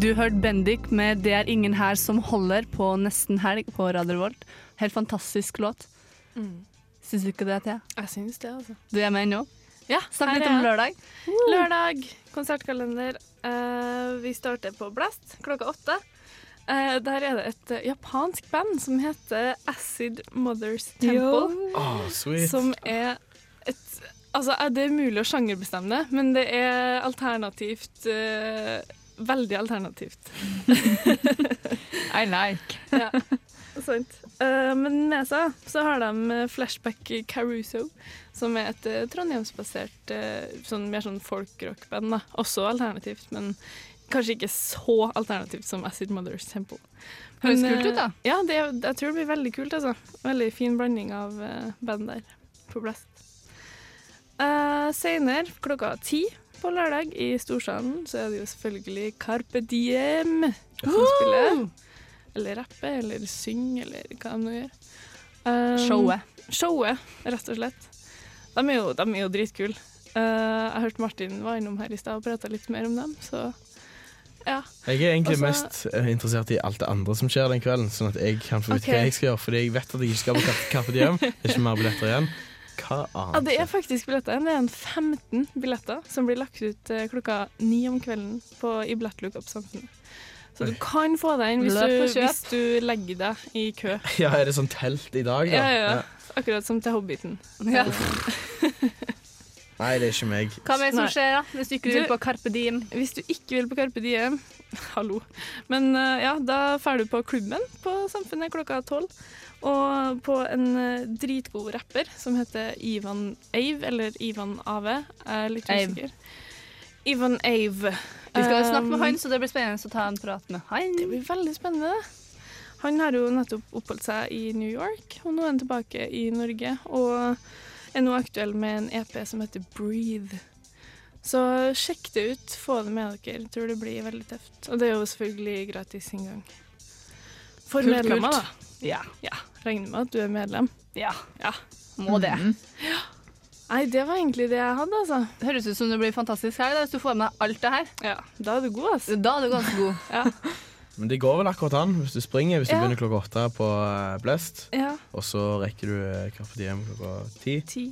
Speaker 1: Du hørte Bendik med 'Det er ingen her som holder' på Nesten helg på Radio Revolt. Helt fantastisk låt.
Speaker 11: Mm.
Speaker 1: Syns du ikke det, Thea?
Speaker 11: Jeg syns det, altså.
Speaker 1: Du er med ennå?
Speaker 11: Ja,
Speaker 1: Snakk
Speaker 11: her
Speaker 1: litt
Speaker 11: er
Speaker 1: om
Speaker 11: jeg.
Speaker 1: lørdag.
Speaker 11: Lørdag, konsertkalender. Eh, vi starter på Blast klokka åtte. Eh, der er det et eh, japansk band som heter Acid Mothers Temple.
Speaker 5: Ah, sweet.
Speaker 11: Som er et Altså, eh, det er mulig å sjangerbestemme det, men det er alternativt eh, Veldig alternativt.
Speaker 6: I like.
Speaker 11: ja, sant. Eh, men med seg så har de eh, Flashback Caruso, som er et eh, trondheimsbasert eh, sånn, mer sånn folkrockband. da. Også alternativt, men kanskje ikke så alternativt som Acid Mothers Temple.
Speaker 1: Høres
Speaker 11: Men,
Speaker 1: kult ut, da.
Speaker 11: eh, Ja, det, jeg tror det blir veldig kult. altså. Veldig fin blanding av eh, band der på Blast. Eh, senere, klokka ti på lørdag i Storsalen, så er det jo selvfølgelig Carpe Diem som spiller. Eller rappe, eller synge, eller hva de nå gjør. Um,
Speaker 1: Showet.
Speaker 11: Showet, rett og slett. De er jo, de er jo dritkule. Eh, jeg hørte Martin var innom her i stad og prata litt mer om dem, så ja. Altså,
Speaker 5: Jeg er egentlig
Speaker 11: Og så-
Speaker 5: mest eh, interessert i alt det andre som skjer den kvelden, sånn at jeg kan få vite
Speaker 11: Ok.
Speaker 5: hva jeg skal gjøre. Fordi jeg vet at jeg ikke skal på Kaffe- Kaffe til hjem. Det er ikke mer billetter igjen. Hva
Speaker 11: Ja,
Speaker 5: annet?
Speaker 11: det er faktisk billetter. Det er en 15 billetter som blir lagt ut eh, klokka ni om kvelden på, i Blettlookup-samfunnet. Så du
Speaker 5: Oi.
Speaker 11: kan få deg inn hvis
Speaker 1: Løp og
Speaker 11: du,
Speaker 1: kjøp.
Speaker 11: hvis du legger deg i kø.
Speaker 5: Ja, er det sånn telt i dag, da?
Speaker 11: Ja, ja. Akkurat som til Hobbiten.
Speaker 5: Nei, det er ikke meg.
Speaker 1: Hva mer som
Speaker 11: Nei.
Speaker 1: skjer da, hvis du ikke vil på Carpe Diem?
Speaker 11: Hvis du ikke vil på Carpe Diem, hallo. Men eh, ja, da drar du på klubben på Samfunnet klokka tolv. Og på en eh, dritgod rapper som heter Ivan Ave, eller Ivan Ave. Jeg er litt
Speaker 1: Ave.
Speaker 11: usikker. Ivan Ave.
Speaker 1: Vi skal jo snakke med
Speaker 11: Um,
Speaker 1: han, så det blir spennende å ta en prat med han.
Speaker 11: Det blir veldig spennende. Han har jo nettopp oppholdt seg i New York, og nå er han tilbake i Norge. Og er nå aktuell med en EP som heter 'Breathe'. Så sjekk det ut, få det med dere. Tror det blir veldig tøft. Og det er jo selvfølgelig gratis inngang. For
Speaker 1: Kult,
Speaker 11: medlemmer,
Speaker 1: kult.
Speaker 11: da. Ja. Regner med at du er medlem.
Speaker 1: Ja. Må det. Mm.
Speaker 11: Nei, det var egentlig det jeg hadde, altså.
Speaker 1: Det høres ut som det blir fantastisk helg da, hvis du får med alt det her.
Speaker 11: Ja, da er du god, altså.
Speaker 1: Da er du ganske god.
Speaker 5: Men det går vel akkurat an hvis du springer hvis du
Speaker 1: Ja.
Speaker 5: begynner klokka åtte på eh, Blest.
Speaker 11: Ja.
Speaker 5: Og så rekker du eh, Kaffe til hjem klokka ti.
Speaker 11: Ti.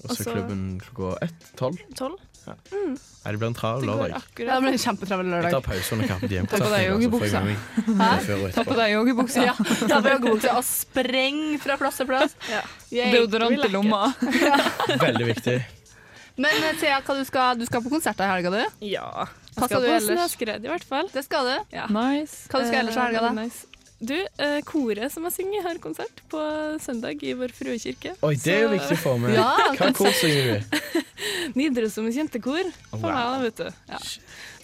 Speaker 5: Og så
Speaker 11: Også-
Speaker 5: klubben klokka ett. Tolv.
Speaker 11: Tolv.
Speaker 5: Ja.
Speaker 11: Mm.
Speaker 5: Nei, det blir en travel lørdag.
Speaker 1: Ja, det blir
Speaker 11: sånn.
Speaker 1: en kjempetravel
Speaker 5: Jeg
Speaker 1: lørdag.
Speaker 5: tar pause under Kaffe til hjem.
Speaker 1: Ta på deg joggebuksa.
Speaker 5: altså.
Speaker 6: Ta på deg joggebuksa.
Speaker 1: Ja, ta på joggebuksa og spreng fra plass til plass. Yay.
Speaker 6: Deodorant i lomma.
Speaker 5: Veldig viktig.
Speaker 1: Men eh, Thea, hva du skal, du skal på konsert i helga, du?
Speaker 11: Ja. skal
Speaker 1: Hva skal du
Speaker 11: på
Speaker 1: ellers?
Speaker 11: snøskred, i hvert fall.
Speaker 1: Det skal du.
Speaker 11: Ja.
Speaker 6: Nice.
Speaker 1: Hva du skal ellers i helga,
Speaker 11: Eh,
Speaker 1: da?
Speaker 11: veldig nice. Du, eh, koret som jeg synger, har konsert på søndag i Vår Frue kirke.
Speaker 5: Oi, det er jo
Speaker 11: Så-
Speaker 5: viktig for meg.
Speaker 11: Ja,
Speaker 5: Hva kor synger du i?
Speaker 11: Nidarosdomen jentekor. For
Speaker 5: Wow.
Speaker 11: meg, da, vet du. Ja.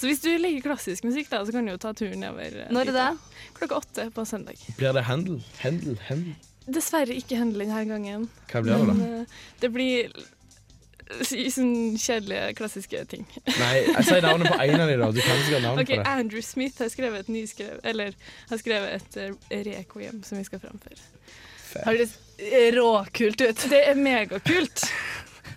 Speaker 11: Så hvis du liker klassisk musikk, da, så kan du jo ta turen nedover. eh,
Speaker 1: Når
Speaker 11: dit,
Speaker 1: er det?
Speaker 11: da. Klokka åtte på søndag.
Speaker 5: Blir det Handel? Handel? Handel?
Speaker 11: Dessverre ikke Hendel denne gangen.
Speaker 5: Hva blir det da?
Speaker 11: Men, eh, det blir eh, sånn kjedelige, klassiske ting.
Speaker 5: Nei, jeg sier navnet på en av de da. Du kan sikkert navnet
Speaker 11: Ok,
Speaker 5: på det.
Speaker 11: Andrew Smith har skrevet et nyskrevet Eller har skrevet et eh, requiem som vi skal framføre.
Speaker 1: Høres råkult ut.
Speaker 11: eh, Det er megakult.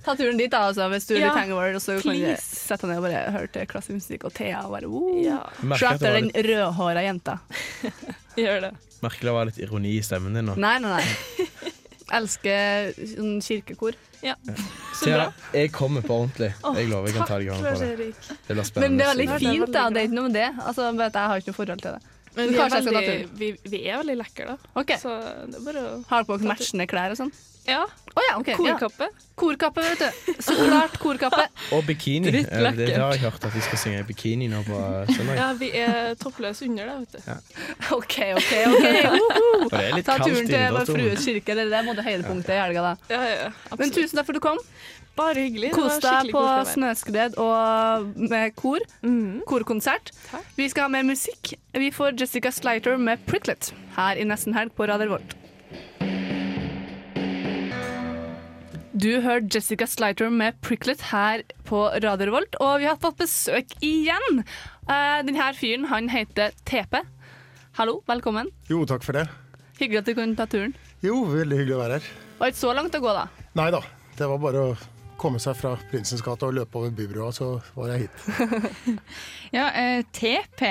Speaker 1: Ta turen dit, da, altså, hvis du
Speaker 11: Ja,
Speaker 1: liker hangover. Og så kan du
Speaker 11: please.
Speaker 1: sette deg ned og bare høre til klassisk musikk og Thea og bare oh.
Speaker 5: Merker
Speaker 1: Se
Speaker 5: at det
Speaker 1: etter
Speaker 5: var
Speaker 1: den rødhåra jenta.
Speaker 11: Gjør det.
Speaker 5: Merkelig det var litt ironi i stemmen din nå.
Speaker 1: Nei, nei, nei. Elsker sånn kirkekor.
Speaker 11: Ja.
Speaker 5: Thea, jeg kommer på ordentlig. Jeg lover jeg kan ta deg i hånden på det.
Speaker 11: Lars-Erik.
Speaker 5: Det blir spennende.
Speaker 1: Men det er
Speaker 5: å
Speaker 1: veldig
Speaker 5: se.
Speaker 1: fint, da. Det er ikke noe med det. Altså, bare at jeg har ikke noe forhold til det.
Speaker 11: Men vi er,
Speaker 1: kanskje jeg skal ta
Speaker 11: veldig,
Speaker 1: turen.
Speaker 11: vi, vi er veldig lekre, da. Så det er bare å
Speaker 1: Har dere på dere matchende klær og sånn?
Speaker 11: Ja.
Speaker 1: Å ja, ok.
Speaker 11: Korkappe.
Speaker 1: Ja. Korkappe, vet du. Så klart korkappe.
Speaker 5: Og bikini.
Speaker 1: Dritt
Speaker 5: Eh, Det
Speaker 1: lekkert.
Speaker 5: har jeg hørt at de skal synge i bikini nå på eh, søndag.
Speaker 11: Ja, vi er toppløse under det, vet du.
Speaker 1: OK, OK. ok Uhu.
Speaker 5: Og det er litt
Speaker 1: Ta
Speaker 5: kaldt
Speaker 1: turen
Speaker 5: inne,
Speaker 1: til
Speaker 5: da,
Speaker 1: Vår
Speaker 5: tror
Speaker 1: Frues
Speaker 5: jeg.
Speaker 1: kirke. Det er det må du høydepunktet i helga, da.
Speaker 11: Ja, ja,
Speaker 1: Men tusen takk for at du kom.
Speaker 11: Bare hyggelig. Det
Speaker 1: Kos
Speaker 11: var
Speaker 1: deg
Speaker 11: skikkelig koselig
Speaker 1: på
Speaker 11: å være. Mm.
Speaker 1: Snøskred og med kor. Korkonsert. Vi skal ha mer musikk. Vi får Jessica Slighter med 'Pricklet' her i nesten helg på Radio Volt. Du hører Jessica Slighter med 'Pricklet' her på Radio Revolt, og vi har fått besøk igjen. Eh, Denne fyren han heter TP. Hallo, velkommen.
Speaker 12: Jo, takk for det.
Speaker 1: Hyggelig at du kunne ta turen.
Speaker 12: Jo, veldig hyggelig å være her.
Speaker 1: Det var ikke så langt å gå, da.
Speaker 12: Nei da, det var bare å komme seg fra Prinsens gate og løpe over Bybrua, så var jeg hit.
Speaker 6: Ja, eh, TP,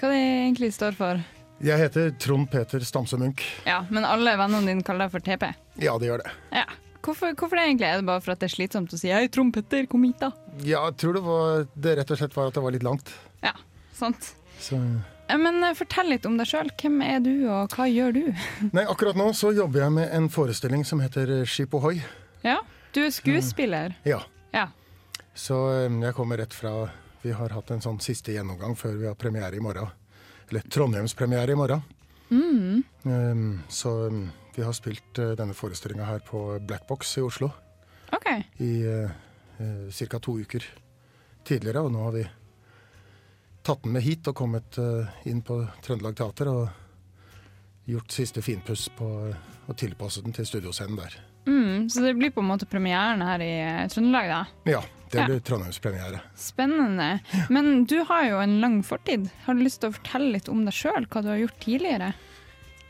Speaker 6: hva det egentlig står for?
Speaker 12: Jeg heter Trond Peter Stamse Munch.
Speaker 6: Ja, men alle vennene dine kaller deg for TP.
Speaker 12: Ja, det gjør det.
Speaker 6: Ja. Hvorfor, hvorfor det egentlig? Er det bare for at det er slitsomt å si 'hei, trompetter, kom hit', da?
Speaker 12: Ja, jeg tror det, var, det rett og slett var at det var litt langt.
Speaker 6: Ja, sant.
Speaker 12: Så...
Speaker 6: Eh, Men eh, fortell litt om deg sjøl. Hvem er du, og hva gjør du?
Speaker 12: Nei, akkurat nå så jobber jeg med en forestilling som heter Skip ohoi.
Speaker 6: Ja, du er skuespiller.
Speaker 12: Ja.
Speaker 6: Ja.
Speaker 12: Så eh, jeg kommer rett fra Vi har hatt en sånn siste gjennomgang før vi har premiere i morgen. Eller Trondheimspremiere i morgen.
Speaker 6: Mm.
Speaker 12: Um, Så um, vi har spilt uh, denne forestillinga her på Black Box i Oslo
Speaker 6: OK.
Speaker 12: i ca. to uker tidligere. Og nå har vi tatt den med hit og kommet uh, inn på Trøndelag Teater og gjort siste finpuss på uh, og tilpasset den til studioscenen der.
Speaker 6: Mm, så det blir på en måte premieren her i eh, Trøndelag, da.
Speaker 12: Ja, det
Speaker 6: Ja.
Speaker 12: blir Trondheimspremiere.
Speaker 6: Spennende. Men du har jo en lang fortid. Har du lyst til å fortelle litt om deg sjøl, hva du har gjort tidligere?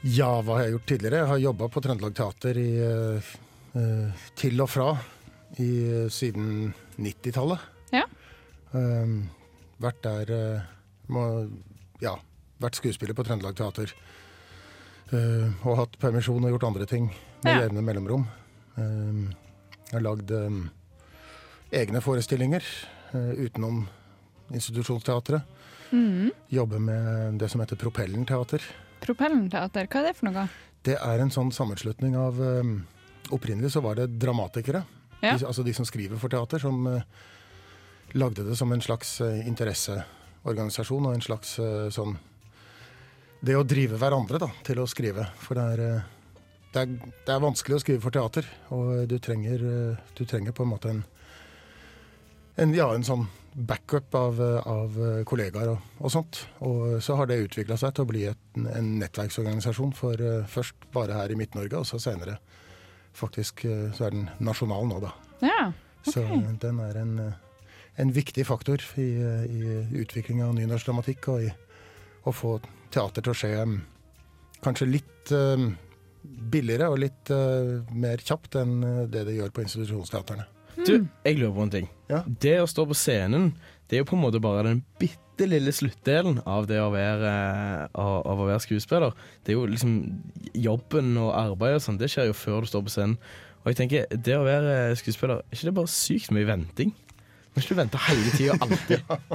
Speaker 12: Ja, hva har jeg gjort tidligere? Jeg har jobba på Trøndelag Teater i, eh, eh, til og fra i, siden 90-tallet.
Speaker 6: Ja.
Speaker 12: Ehm, vært der eh, må, Ja, vært skuespiller på Trøndelag Teater. Ehm, og hatt permisjon og gjort andre ting med
Speaker 6: Ja.
Speaker 12: jevne mellomrom. Ehm, jeg har lagd ehm, egne forestillinger eh, utenom institusjonsteatret.
Speaker 6: Mm.
Speaker 12: Jobber med det som heter Propellen Teater.
Speaker 6: Propellen teater, hva er det for noe?
Speaker 12: Det er en sånn sammenslutning av eh, Opprinnelig så var det dramatikere,
Speaker 6: Ja.
Speaker 12: de, altså de som skriver for teater, som eh, lagde det som en slags eh, interesseorganisasjon og en slags eh, sånn Det å drive hverandre da, til å skrive. For det er, eh, det, er, det er vanskelig å skrive for teater, og eh, du trenger, eh, du trenger på en måte en, en, ja, en sånn backup av, eh, av eh, kollegaer og, og sånt. Og så har det utvikla seg til å bli et, en nettverksorganisasjon for eh, først bare her i Midt-Norge, og så senere faktisk eh, så er den nasjonal nå, da.
Speaker 6: Ja,
Speaker 12: Så den er en, eh, en viktig faktor i, eh, i utviklinga av ny norsk dramatikk, og i å få teater til å skje mm, kanskje litt eh, billigere og litt eh, mer kjapt enn eh, det det gjør på institusjonsteaterne.
Speaker 5: Du, jeg lurer på en ting. Det å stå på scenen, det er jo på en måte bare den bitte lille sluttdelen av det å være, eh, av av å være skuespiller. Det er jo liksom jobben og arbeidet og sånn, det skjer jo før du står på scenen. Og jeg tenker, det å være skuespiller, er ikke det bare sykt mye venting? Må ikke du vente hele tida, alltid?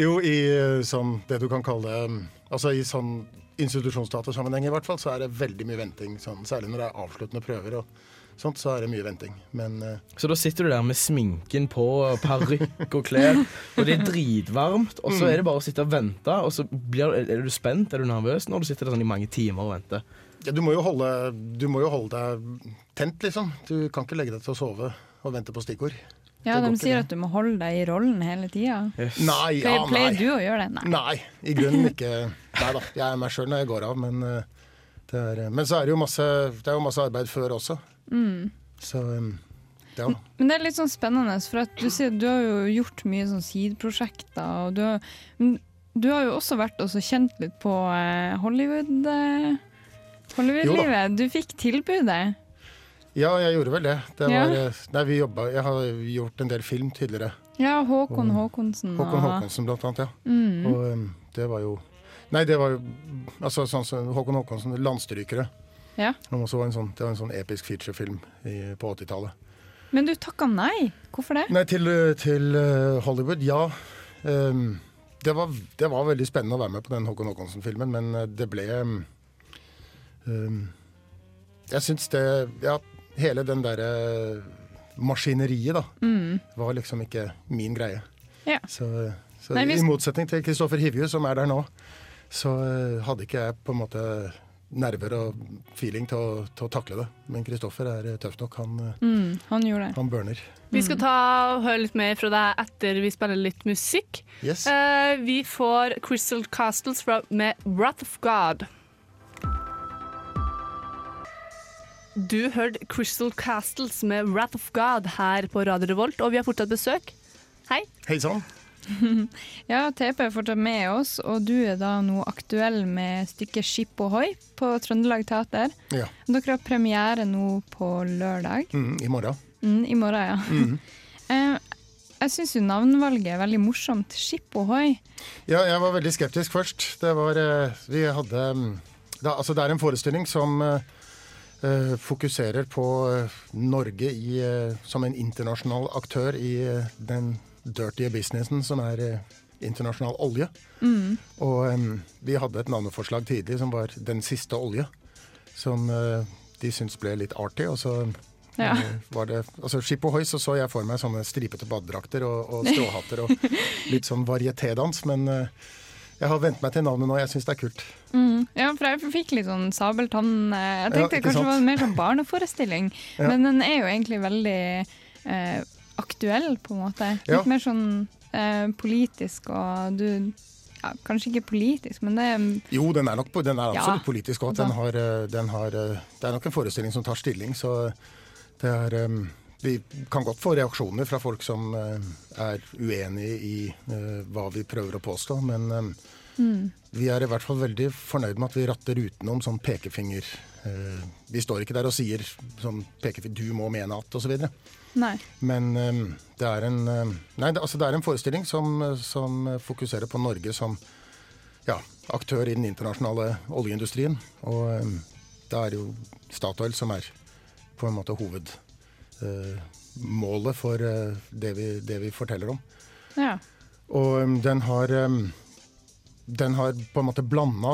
Speaker 12: Jo, i eh, sånn det du kan kalle mm, Altså i sånn institusjonsteatersammenheng i hvert fall, så er det veldig mye venting. Sånn, særlig når det er avsluttende prøver og sånt, så er det mye venting. Men eh,
Speaker 5: Så da sitter du der med sminken på, parykk og klær, og det er dritvarmt, og så
Speaker 12: Mm.
Speaker 5: er det bare å sitte og vente, og så blir, er du spent, er du nervøs når du sitter der sånn i mange timer og venter?
Speaker 12: ja, du, må jo holde, du må jo holde deg tent, liksom. Du kan ikke legge deg til å sove og vente på stikkord. Det
Speaker 6: Ja, de
Speaker 12: går ikke,
Speaker 6: sier
Speaker 12: det.
Speaker 6: at du må holde deg i rollen hele tida.
Speaker 12: Nei, ja,
Speaker 6: pleier, pleier
Speaker 12: nei.
Speaker 6: du å gjøre det? Nei.
Speaker 12: Nei, i grunnen ikke. Nei da, jeg er meg sjøl når jeg går av, men eh, det er, Men så er det jo masse, det er jo masse arbeid før også,
Speaker 6: Mm.
Speaker 12: så eh, ja.
Speaker 6: Men det er litt sånn spennende, for at du, sier, du har jo gjort mye sånn sideprosjekter. Og du, har, men du har jo også vært og så kjent litt på eh, Hollywood, eh, Hollywood-livet. du fikk tilbudet.
Speaker 12: Ja, jeg gjorde vel det. det
Speaker 6: Ja.
Speaker 12: var, eh, nei, vi jobba, jeg har gjort en del film tidligere.
Speaker 6: Ja, Håkon Håkonsen. og-
Speaker 12: Håkon Håkonsen blant annet, ja.
Speaker 6: Ah. Mm.
Speaker 12: Og em, det var jo Nei, det var jo altså, sånn, som Håkon Håkonsen, 'Landstrykere'.
Speaker 6: Ja.
Speaker 12: Som også var en sånn, det var en sånn episk featurefilm i, på 80-tallet.
Speaker 6: Men du takka nei. Hvorfor det?
Speaker 12: Nei, til, eh, til eh, Hollywood, ja. Em, det, var, det var veldig spennende å være med på den Håkon Håkonsen-filmen, men eh, det ble em, em, Jeg syns det Ja, hele den derre maskineriet, da,
Speaker 6: Mm.
Speaker 12: var liksom ikke min greie.
Speaker 6: Ja.
Speaker 12: Så, så
Speaker 6: Nei, vi-
Speaker 12: I motsetning til Kristoffer Hivju, som er der nå, så eh, hadde ikke jeg på en måte nerver og feeling til å, til å takle det. Men Kristoffer er eh, tøff nok. Han, eh,
Speaker 6: Mm, han gjorde det.
Speaker 12: han burner.
Speaker 1: Vi skal ta og høre litt mer fra deg etter vi spiller litt musikk.
Speaker 12: Yes.
Speaker 1: Eh, vi får Crystal Castles fra, med Wrath of God. Du hørte Crystal Castles med Wrath of God her på Radio Revolt, og vi har fortsatt besøk. Hei.
Speaker 12: Hei sann.
Speaker 6: Ja, TP er fortsatt med oss, og du er da nå aktuell med stykket 'Skip ohoi' på Trøndelag Teater.
Speaker 12: Ja.
Speaker 6: Dere har premiere nå på lørdag.
Speaker 12: Mm, I morgen.
Speaker 6: Mm, I morgen, ja.
Speaker 12: Mm.
Speaker 6: Eh, jeg syns jo navnvalget er veldig morsomt. 'Skip ohoi'.
Speaker 12: Ja, jeg var veldig skeptisk først. Det var eh, Vi hadde mm, da, Altså, det er en forestilling som eh, eh, fokuserer på eh, Norge i, eh, som en internasjonal aktør i eh, den dirty businessen som er eh, internasjonal olje.
Speaker 6: Mm.
Speaker 12: Og em, vi hadde et navneforslag tidlig som var 'Den siste olje', som eh, de syntes ble litt artig. Og så
Speaker 6: Ja.
Speaker 12: eh, var det Altså, Skip Ohoi så, så jeg for meg sånne stripete badedrakter og, og stråhatter og litt sånn varietédans, men eh, jeg har vent meg til navnet nå. Jeg syns det er kult.
Speaker 6: Mm. Ja, for jeg fikk litt sånn sabeltann eh, Jeg
Speaker 12: Ja,
Speaker 6: tenkte
Speaker 12: ikke
Speaker 6: kanskje
Speaker 12: sant?
Speaker 6: det var mer sånn barneforestilling,
Speaker 12: Ja.
Speaker 6: men den er jo egentlig veldig eh, aktuell, på en måte. Litt
Speaker 12: Ja.
Speaker 6: mer sånn eh, politisk og du ja, Kanskje ikke politisk, men det er
Speaker 12: Jo, den er nok po- den er
Speaker 6: Ja.
Speaker 12: absolutt politisk òg. Den har, eh, den har eh, Det er nok en forestilling som tar stilling, så det er em, Vi kan godt få reaksjoner fra folk som eh, er uenige i eh, hva vi prøver å påstå, men em,
Speaker 6: Mm.
Speaker 12: Vi er i hvert fall veldig fornøyd med at vi ratter utenom sånn pekefinger. Eh, Vi står ikke der og sier sånn pekefinger 'du må mene at', osv.
Speaker 6: Nei.
Speaker 12: Men eh, det er en eh, Nei, det, altså det er en forestilling som, eh, som fokuserer på Norge som ja, aktør i den internasjonale oljeindustrien. Og eh, da er det jo Statoil som er på en måte hovedmålet for eh, det vi, det vi forteller om.
Speaker 6: Ja.
Speaker 12: Og um, den har um, Den har på en måte blanda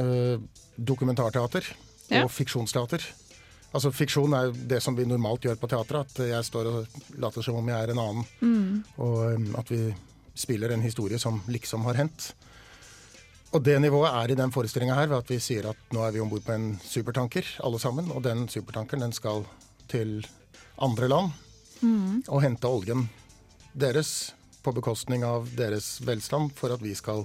Speaker 12: uh, dokumentarteater
Speaker 6: Ja.
Speaker 12: og fiksjonsteater. Altså Fiksjon er jo det som vi normalt gjør på teatret. At jeg står og later som om jeg er en annen.
Speaker 6: Mm.
Speaker 12: Og um, at vi spiller en historie som liksom har hendt. Og det nivået er i den forestillinga her ved at vi sier at nå er vi om bord på en supertanker, alle sammen. Og den supertankeren den skal til andre land
Speaker 6: Mm.
Speaker 12: og hente oljen deres på bekostning av deres velstand for at vi skal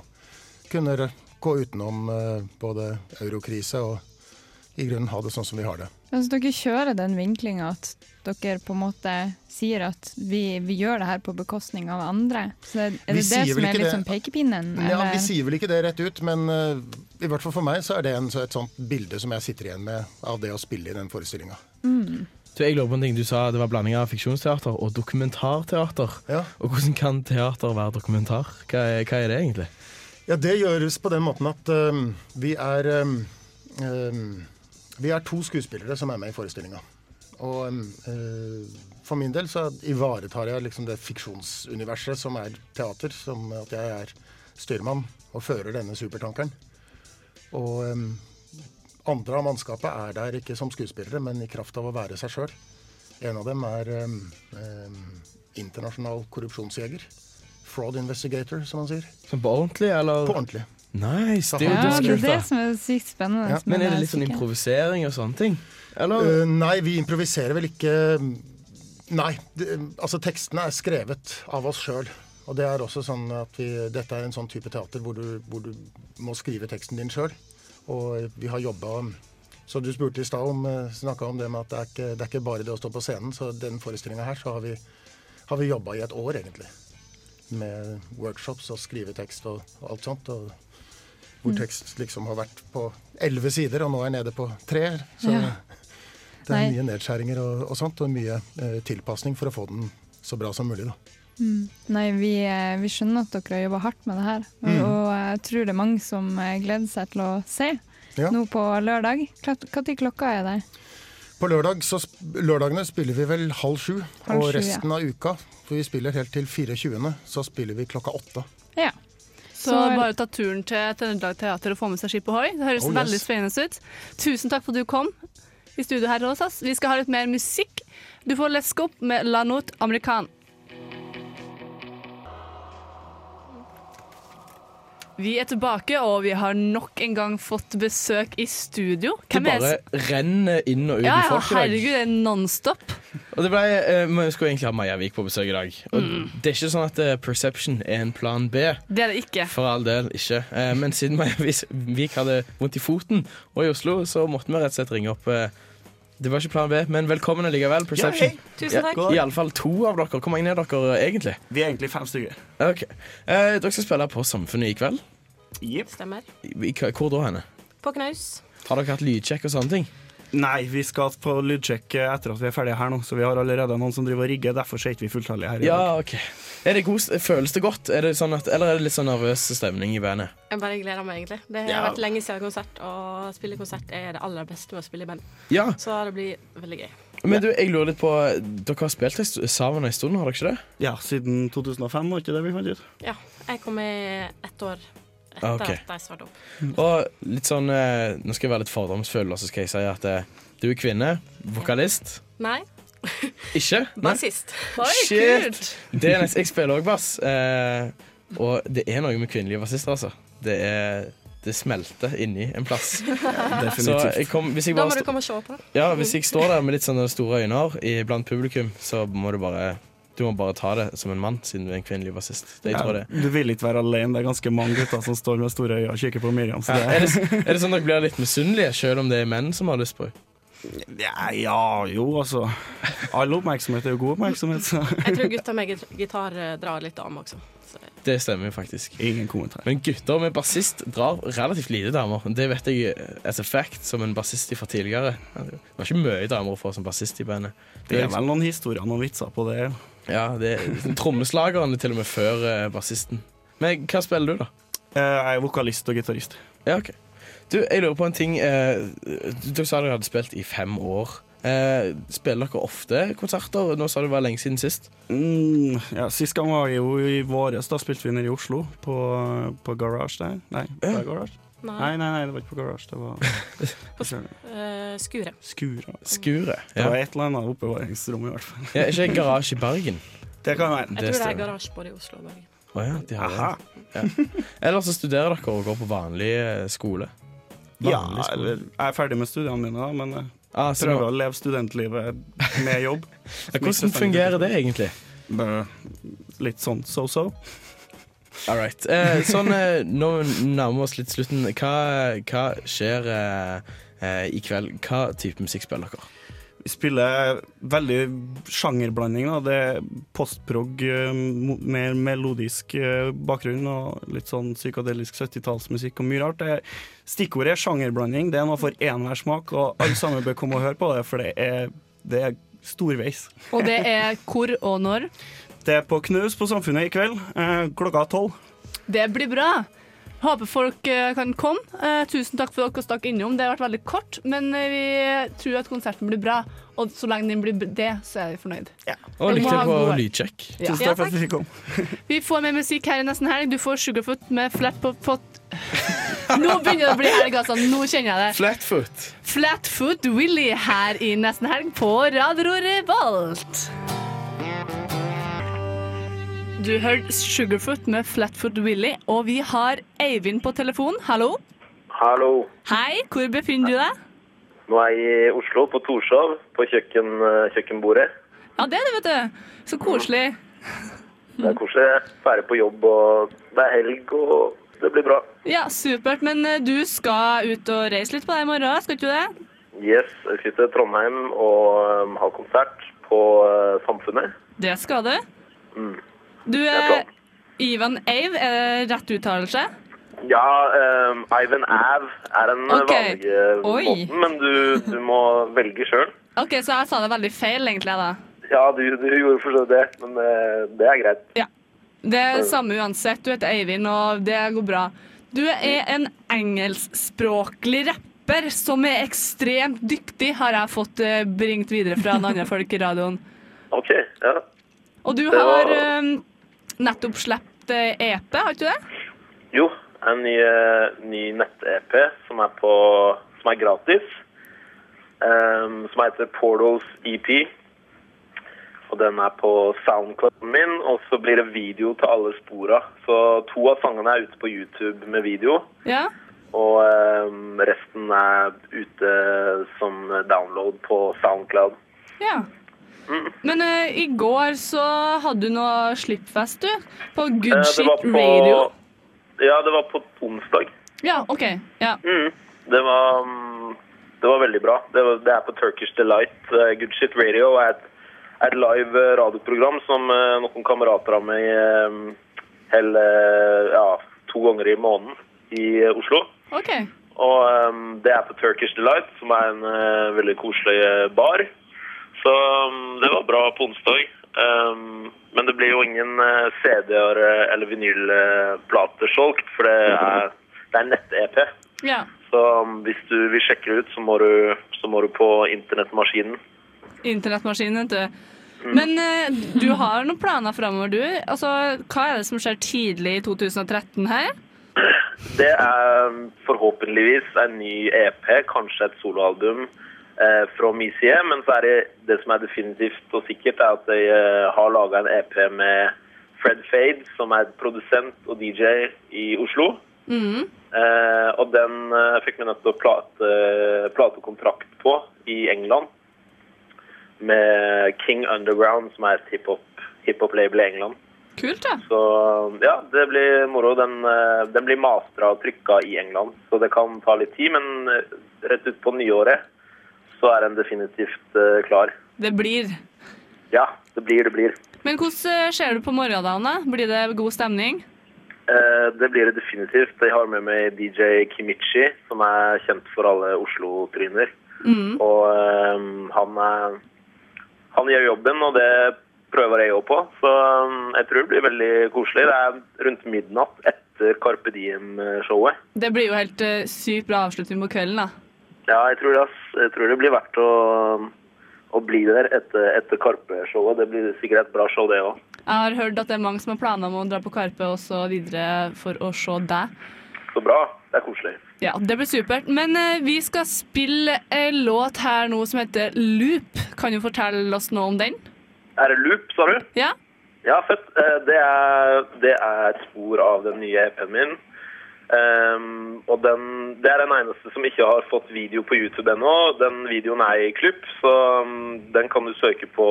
Speaker 12: kunne r- gå utenom eh, både eurokrise og i grunnen ha det sånn som vi har det.
Speaker 6: Altså, dere kjører den vinklinga at dere på en måte sier at vi, vi gjør det her på bekostning av andre. Så er,
Speaker 12: Vi
Speaker 6: er det det
Speaker 12: sier vel
Speaker 6: som
Speaker 12: ikke
Speaker 6: er litt
Speaker 12: det-
Speaker 6: sånn pekepinnen?
Speaker 12: Ja,
Speaker 6: eller?
Speaker 12: Vi sier vel ikke det rett ut, men eh, i hvert fall for meg så er det en, så et sånt bilde som jeg sitter igjen med av det å spille i den forestillinga.
Speaker 6: Mm.
Speaker 5: Du, jeg lurer på en ting. Du sa det var blanding av fiksjonsteater og dokumentarteater. Og hvordan kan teater være dokumentar? Hva er, hva er det egentlig?
Speaker 12: Ja, det gjøres på den måten at øhm, vi er øhm, øhm, Vi er to skuespillere som er med i forestillinga. Og øhm, øh, for min del så ivaretar jeg liksom det fiksjonsuniverset som er teater. Som at jeg er styrmann og fører denne supertankeren. Og øhm, andre av mannskapet er der ikke som skuespillere, men i kraft av å være seg sjøl. En av dem er øhm, øhm, internasjonal korrupsjonsjeger. Fraud investigator, som han sier.
Speaker 5: Sånn på ordentlig, eller?
Speaker 12: På ordentlig.
Speaker 5: Nice, det er jo
Speaker 6: ja, det
Speaker 5: dødskult,
Speaker 6: er det
Speaker 5: da.
Speaker 6: som er sykt spennende.
Speaker 12: Ja.
Speaker 5: Men er det litt sånn
Speaker 6: jeg er sikker.
Speaker 5: improvisering og sånne ting?
Speaker 12: Eh, nei, vi improviserer vel ikke Nei. Det, altså, tekstene er skrevet av oss sjøl. Og det er også sånn at vi, dette er en sånn type teater hvor du, hvor du må skrive teksten din sjøl. Og vi har jobba Så du spurte i stad om snakka om det med at det er, ikke, det er ikke bare det å stå på scenen. Så den forestillinga her, så har vi, har vi jobba i et år, egentlig. Med workshops og skrivetekst og, og alt sånt. Og hvor
Speaker 6: Mm.
Speaker 12: tekst liksom har vært på elleve sider, og nå er jeg nede på tre. Så
Speaker 6: Ja.
Speaker 12: det er
Speaker 6: Nei.
Speaker 12: mye nedskjæringer og, og sånt, og mye eh, tilpasning for å få den så bra som mulig. Da.
Speaker 6: Mm. Nei, vi, eh, vi skjønner at dere har jobba hardt med det her. Og,
Speaker 12: Mm.
Speaker 6: og jeg tror det er mange som eh, gleder seg til å se
Speaker 12: Ja.
Speaker 6: nå på lørdag. Når klokka er det?
Speaker 12: På lørdag, så, sp- lørdagene spiller vi vel halv sju,
Speaker 6: Halv
Speaker 12: og
Speaker 6: sju, ja.
Speaker 12: resten av uka, for vi spiller helt til 24., så spiller vi klokka åtte.
Speaker 1: Ja. Så,
Speaker 6: Så-
Speaker 1: bare ta turen til Trøndelag Teater og få med seg Skip Ohoi. Det høres
Speaker 12: Oh, yes.
Speaker 1: veldig spennende ut. Tusen takk for at du kom i studio her hos oss. Vi skal ha litt mer musikk. Du får leske opp med La Note American. Vi er tilbake, og vi har nok en gang fått besøk i studio.
Speaker 5: Det
Speaker 1: er
Speaker 5: bare
Speaker 1: det som-
Speaker 5: renner inn og ut
Speaker 1: Ja,
Speaker 5: med
Speaker 1: ja,
Speaker 5: folk i dag.
Speaker 1: herregud, det er nonstop.
Speaker 5: Og det ble, eh, Vi skulle egentlig ha Maja Vik på besøk i dag. Og
Speaker 1: Mm.
Speaker 5: Det er ikke sånn at eh, Perception er en plan B.
Speaker 1: Det er det ikke.
Speaker 5: For all del ikke. Eh, men siden Maja Vis- Vik hadde vondt i foten og i Oslo, så måtte vi rett og slett ringe opp eh, Det var ikke plan B, men velkommen likevel, Perception.
Speaker 13: hei. Tusen takk.
Speaker 5: Ja, Iallfall to av dere. Hvor mange er dere eh, egentlig?
Speaker 13: Vi er egentlig fem stykker.
Speaker 5: Ok. Eh, dere skal spille på Samfunnet i kveld.
Speaker 13: Stemmer.
Speaker 5: I, hva- hvor da henne?
Speaker 13: På knaus.
Speaker 5: Har dere hatt lydsjekk og sånne ting?
Speaker 13: Nei, vi skal på lydsjekk etter at vi er ferdige her nå, så vi har allerede noen som driver og rigger. Derfor ser ikke vi fulltallige her i dag.
Speaker 5: Ja, ok er det god, Føles det godt? Er det sånn at, eller er det litt sånn nervøs stemning i bandet?
Speaker 14: Jeg bare gleder meg, egentlig. Det har
Speaker 5: Ja.
Speaker 14: vært lenge siden konsert, og å spille konsert er det aller beste med å spille i band.
Speaker 5: Ja.
Speaker 14: Så det blir veldig gøy.
Speaker 5: Men du, jeg lurer litt på eh, Dere har spilt en st- sammen en stund, har dere ikke det?
Speaker 13: Ja, siden 2005, var ikke det vi fant ut?
Speaker 14: Ja, jeg kom med ett år etter
Speaker 5: Ah, Ok. Mm.
Speaker 14: at de starta opp.
Speaker 5: Og litt sånn eh, Nå skal jeg være litt fordomsfull, og så skal jeg si at eh, du er kvinne. Vokalist.
Speaker 14: Nei,
Speaker 5: Ikke? Nei?
Speaker 14: bassist.
Speaker 5: Shit! Det er nesten, jeg spiller òg bass. Eh, og det er noe med kvinnelige bassister, altså. Det er det smelter inni en plass.
Speaker 13: definitivt.
Speaker 5: Så jeg kom, hvis jeg
Speaker 14: Da
Speaker 5: bare
Speaker 14: må
Speaker 5: sto-
Speaker 14: du komme og se på.
Speaker 5: Ja, hvis jeg står der med litt sånne store øyne i- blant publikum, så må du bare Du må bare ta det som en mann, siden du er en kvinnelig bassist. Det, jeg tror det.
Speaker 13: Du vil ikke være alene. Det er ganske mange gutter som står med store øyne og kikker på Miriam. Så
Speaker 5: Ja, er,
Speaker 13: det
Speaker 5: det, er det sånn at dere blir litt misunnelige, selv om det er menn som har lyst på det?
Speaker 13: ja, ja, jo, altså. All oppmerksomhet er jo god oppmerksomhet, så
Speaker 14: Jeg tror gutta med git- gitar eh, drar litt om også. Så
Speaker 5: Det stemmer faktisk. Men gutter med bassist drar relativt lite damer. Det vet jeg eh, as a fact som en bassist fra tidligere. Det var ikke mye damer å få som bassist i bandet.
Speaker 13: Det er vel noen historier noen vitser på det.
Speaker 5: Ja, det er trommeslageren er til og med før eh, bassisten. Men hva spiller du, da?
Speaker 13: Eh, Jeg er vokalist og gitarist.
Speaker 5: Ja, ok. Du, jeg lurer på en ting. eh, Du, du sa dere hadde spilt i fem år. Eh, Spiller dere ofte konserter? Nå sa du det var lenge siden sist.
Speaker 13: Mm, ja, Sist gang var jo i våres. Da spilte vi nede i Oslo, på, på Garage der. Nei, var det Garage?
Speaker 14: Nei.
Speaker 13: Nei, nei, nei, det var ikke på Garage. Det var Hva skjer det?
Speaker 14: Eh, skure.
Speaker 13: Skura.
Speaker 5: Skure,
Speaker 13: Det
Speaker 5: ja.
Speaker 13: var et eller annet oppbevaringsrom, i hvert fall.
Speaker 5: Ja, er ikke det Garage i Bergen?
Speaker 13: Det kan være.
Speaker 14: Jeg tror det er garasje både i Oslo og Bergen.
Speaker 5: Å ja, de har det. Ja. Eller så studerer dere og går på vanlig eh, skole.
Speaker 13: Ja, eller jeg er ferdig med studiene mine, da, men jeg
Speaker 5: Ah, så
Speaker 13: prøver
Speaker 5: nå-
Speaker 13: å leve studentlivet med jobb.
Speaker 5: Ja, hvordan fungerer det egentlig?
Speaker 13: liksom. Litt sånn so-so.
Speaker 5: All right. Eh, sånn, eh, nå nærmer vi oss litt slutten. Hva, hva skjer eh, eh, i kveld? Hva type musikk spiller dere?
Speaker 13: Vi spiller veldig sjangerblanding. Da. Det er postprog eh, mo- mer melodisk eh, bakgrunn og litt sånn psykadelisk 70-tallsmusikk og mye rart. Det er- Stikkordet er sjangerblanding. Det er noe for enhver smak, og alle sammen bør komme og høre på det, for det er, det er storveis.
Speaker 1: Og det er hvor og når.
Speaker 13: Det er på Knaus på Samfunnet i kveld eh, klokka tolv.
Speaker 1: Det blir bra. Håper folk eh, kan komme. Eh, Tusen takk for dere stakk innom. Det har vært veldig kort, men eh, vi tror at konserten blir bra. Og så lenge den blir b- det, så er vi fornøyd.
Speaker 5: Og
Speaker 1: Vi må
Speaker 5: lykke
Speaker 1: ha
Speaker 5: til på
Speaker 1: gode-
Speaker 5: lydsjekk.
Speaker 1: Ja. Tusen takk Ja, for at takk. vi fikk
Speaker 13: komme.
Speaker 1: Vi får mer musikk her i nesten helg. Du får Sugarfoot med Flatpot Nå begynner det å bli helg, altså. Nå kjenner jeg det.
Speaker 5: Flatfoot.
Speaker 1: Flatfoot Willy her i nesten helg på Radio Revolt. Du hørte Sugarfoot med Flatfoot Willy, og vi har Eivind på telefon. Hallo.
Speaker 15: Hallo.
Speaker 1: Hei, hvor befinner du deg?
Speaker 15: Nå er jeg i Oslo, på Torshov, på kjøkken, eh, kjøkkenbordet.
Speaker 1: Ja, det er det, vet du. Så koselig.
Speaker 15: Det
Speaker 1: Mm.
Speaker 15: er koselig. jeg er Ferdig på jobb, og det er helg, og det blir bra.
Speaker 1: Ja, supert. Men eh, du skal ut og reise litt på deg i morgen, skal ikke du det?
Speaker 15: Yes, jeg skal til Trondheim og um, ha konsert på eh, Samfunnet.
Speaker 1: Det skal du.
Speaker 15: Mm.
Speaker 1: Du er Ivan Ave, er det rett uttalelse?
Speaker 15: Ja, um, Ivan Av er den
Speaker 1: Ok.
Speaker 15: vanlige
Speaker 1: Oi.
Speaker 15: måten, men du, du må velge sjøl.
Speaker 1: OK, så jeg sa det veldig feil, egentlig, jeg, da.
Speaker 15: Ja, du, du gjorde for så vidt det, men eh, det er greit.
Speaker 1: Det er samme uansett. Du heter Eivind, og det går bra. Du er en engelskspråklig rapper som er ekstremt dyktig, har jeg fått eh, bringt videre fra den andre folk i radioen.
Speaker 15: OK. Ja.
Speaker 1: Og du
Speaker 15: Det var-
Speaker 1: har eh, nettopp sluppet EP, har ikke du det?
Speaker 15: Jo, en ny, eh, ny nett-EP som, er på- som er gratis. ehm, som heter Portals EP. Og den er på soundclouden min, og så blir det video til alle spora. Så to av sangene er ute på YouTube med video,
Speaker 1: Ja.
Speaker 15: og ehm, resten er ute som download på soundcloud.
Speaker 1: ja. Men eh, i går så hadde du noe slippfest, du. På
Speaker 15: Eh,
Speaker 1: Good
Speaker 15: det var
Speaker 1: Shit
Speaker 15: på-
Speaker 1: Radio.
Speaker 15: Ja, det var på onsdag.
Speaker 1: Ja, OK. Ja.
Speaker 15: Mm. Det var mm, Det var veldig bra. Det, var, det er på Turkish Delight. eh, Good Shit Radio er et, er et live eh, radioprogram som eh, noen kamerater av meg eh, hele ja, to ganger i måneden i eh, Oslo.
Speaker 1: OK.
Speaker 15: Og eh, det er på Turkish Delight, som er en eh, veldig koselig eh, bar. Så mm, det var bra på onsdag. Eh, men det blir jo ingen eh, CD-er eh, eller vinylplater solgt, for det er, det er nett-EP.
Speaker 1: Ja.
Speaker 15: Så um, hvis du vil sjekke det ut, så må du, så må du på internettmaskinen.
Speaker 1: Internettmaskinen, vet du. Men eh, du har noen planer framover, du. Altså, hva er det som skjer tidlig i 2013 her?
Speaker 15: Det er um, forhåpentligvis en ny EP, kanskje et soloalbum eh, fra min side. Men så er det, det som er definitivt og sikkert, er at jeg eh, har laga en EP med Fred Fade, som er produsent og DJ i Oslo.
Speaker 1: Mhm.
Speaker 15: Eh, og den eh, fikk vi nettopp plate, platekontrakt på i England. Med King Underground, som er et hiphop- hiphop-label i England.
Speaker 1: Kult, da.
Speaker 15: Så ja, det blir moro. Den, eh, den blir mastra og trykka i England, så det kan ta litt tid. Men eh, rett ut på nyåret så er den definitivt eh, klar.
Speaker 1: Det blir.
Speaker 15: Ja, det blir, det blir.
Speaker 1: Men hvordan eh, ser du på morgendagen, da? Blir det god stemning?
Speaker 15: Eh, det blir det definitivt. Jeg har med meg DJ Kimichi, som er kjent for alle Oslo-tryner.
Speaker 1: Mm.
Speaker 15: Og eh, han, er, han gjør jobben, og det prøver jeg òg på. Så eh, jeg tror det blir veldig koselig. Det er rundt midnatt etter Carpe Diem-showet.
Speaker 1: Det blir jo helt eh, sykt bra avslutning på kvelden, da.
Speaker 15: Ja, jeg tror det, ass. Jeg tror det blir verdt å, å bli der etter, etter Karpe-showet. Det blir sikkert et bra show, det òg.
Speaker 1: Jeg har hørt at det er mange som har planer om å dra på Karpe og så videre for å se deg.
Speaker 15: Så bra. Det er koselig.
Speaker 1: Ja, det blir supert. Men eh, vi skal spille en låt her nå som heter Loop. Kan du fortelle oss noe om den?
Speaker 15: Er det Loop, sa du?
Speaker 1: Ja.
Speaker 15: Ja, fett. Eh, Det er, det er et spor av den nye EP-en min. Ehm, og den, det er den eneste som ikke har fått video på YouTube ennå. Den videoen er i klipp, så mm, den kan du søke på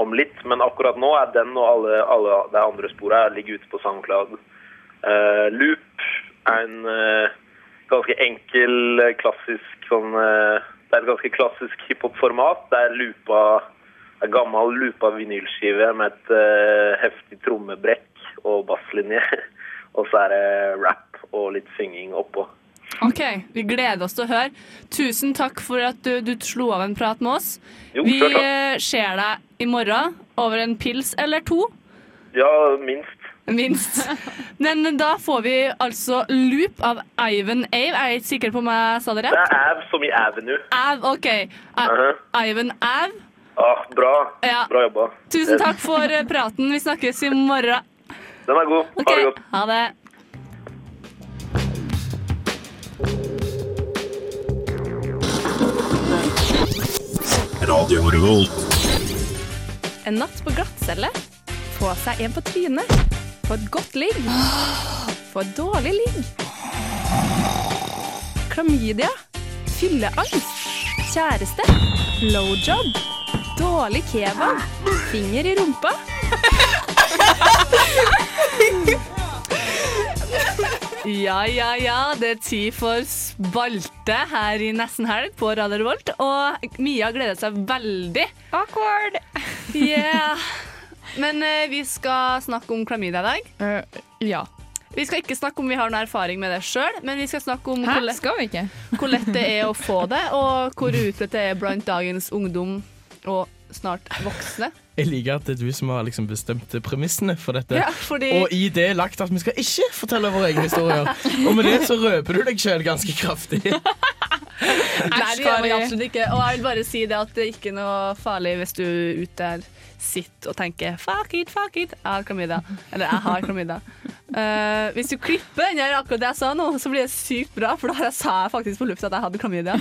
Speaker 15: om litt. Men akkurat nå er den og alle, alle de andre sporene ligger ute på SoundCloud. Eh, loop er en eh, ganske enkel, eh, klassisk sånn eh, Det er et ganske klassisk hiphop-format. Det er loopa en gammel loopa vinylskive med et eh, heftig trommebrekk og basslinje. og så er det rap og litt synging oppå.
Speaker 1: OK, vi gleder oss til å høre. Tusen takk for at du, du slo av en prat med oss.
Speaker 15: Jo,
Speaker 1: vi
Speaker 15: sjøl takk.
Speaker 1: eh, ser deg i morgen over en pils eller to,
Speaker 15: Ja, minst.
Speaker 1: minst. Men da får vi altså Loop av Ivan Ave. Er jeg ikke sikker på om jeg sa det
Speaker 15: Det er
Speaker 1: rett?
Speaker 15: Av som i Avenue.
Speaker 1: Av, OK. A
Speaker 15: Mhm.
Speaker 1: Ivan Av.
Speaker 15: Ah, bra.
Speaker 1: Ja.
Speaker 15: Bra jobba.
Speaker 1: Tusen takk for eh, praten. Vi snakkes i morgen.
Speaker 15: Den er god.
Speaker 1: OK,
Speaker 15: Ha det godt.
Speaker 1: ha det.
Speaker 10: Radio Revolt.
Speaker 8: En natt på glattcelle. Få seg en på trynet. Få et godt ligg. Få et dårlig ligg. Klamydia. Fylleangst. Kjæreste. Blowjob. Dårlig kebab. Finger i rumpa.
Speaker 1: Ja, ja, ja. Det er tid for spalte her i nesten helg på Radio Revolt. Og Mia gleder seg veldig. Awkward. Yeah. Men eh, vi skal snakke om klamydia i dag.
Speaker 6: Eh,
Speaker 1: ja. Vi skal ikke snakke om vi har noe erfaring med det sjøl, men vi skal snakke om
Speaker 6: Hæ,
Speaker 1: hvor lett-
Speaker 6: skal vi ikke?
Speaker 1: hvor lett det er å få det, og hvor utbredt det er blant dagens ungdom og snart voksne.
Speaker 5: Jeg liker at det er du som har liksom bestemt premissene for dette.
Speaker 1: Ja, fordi-
Speaker 5: Og i det er lagt at vi skal ikke fortelle våre egne historier. Og med det så røper du deg sjøl ganske kraftig.
Speaker 1: Nei, det gjør man absolutt ikke. Og jeg vil bare si det at det er ikke noe farlig hvis du er ute der sitter og tenker fuck it, fuck it, jeg har klamydia. Eller jeg har klamydia. Eh, hvis du klipper den der akkurat det jeg sa nå, så blir det sykt bra, for da sa jeg faktisk på lufta at jeg hadde klamydia.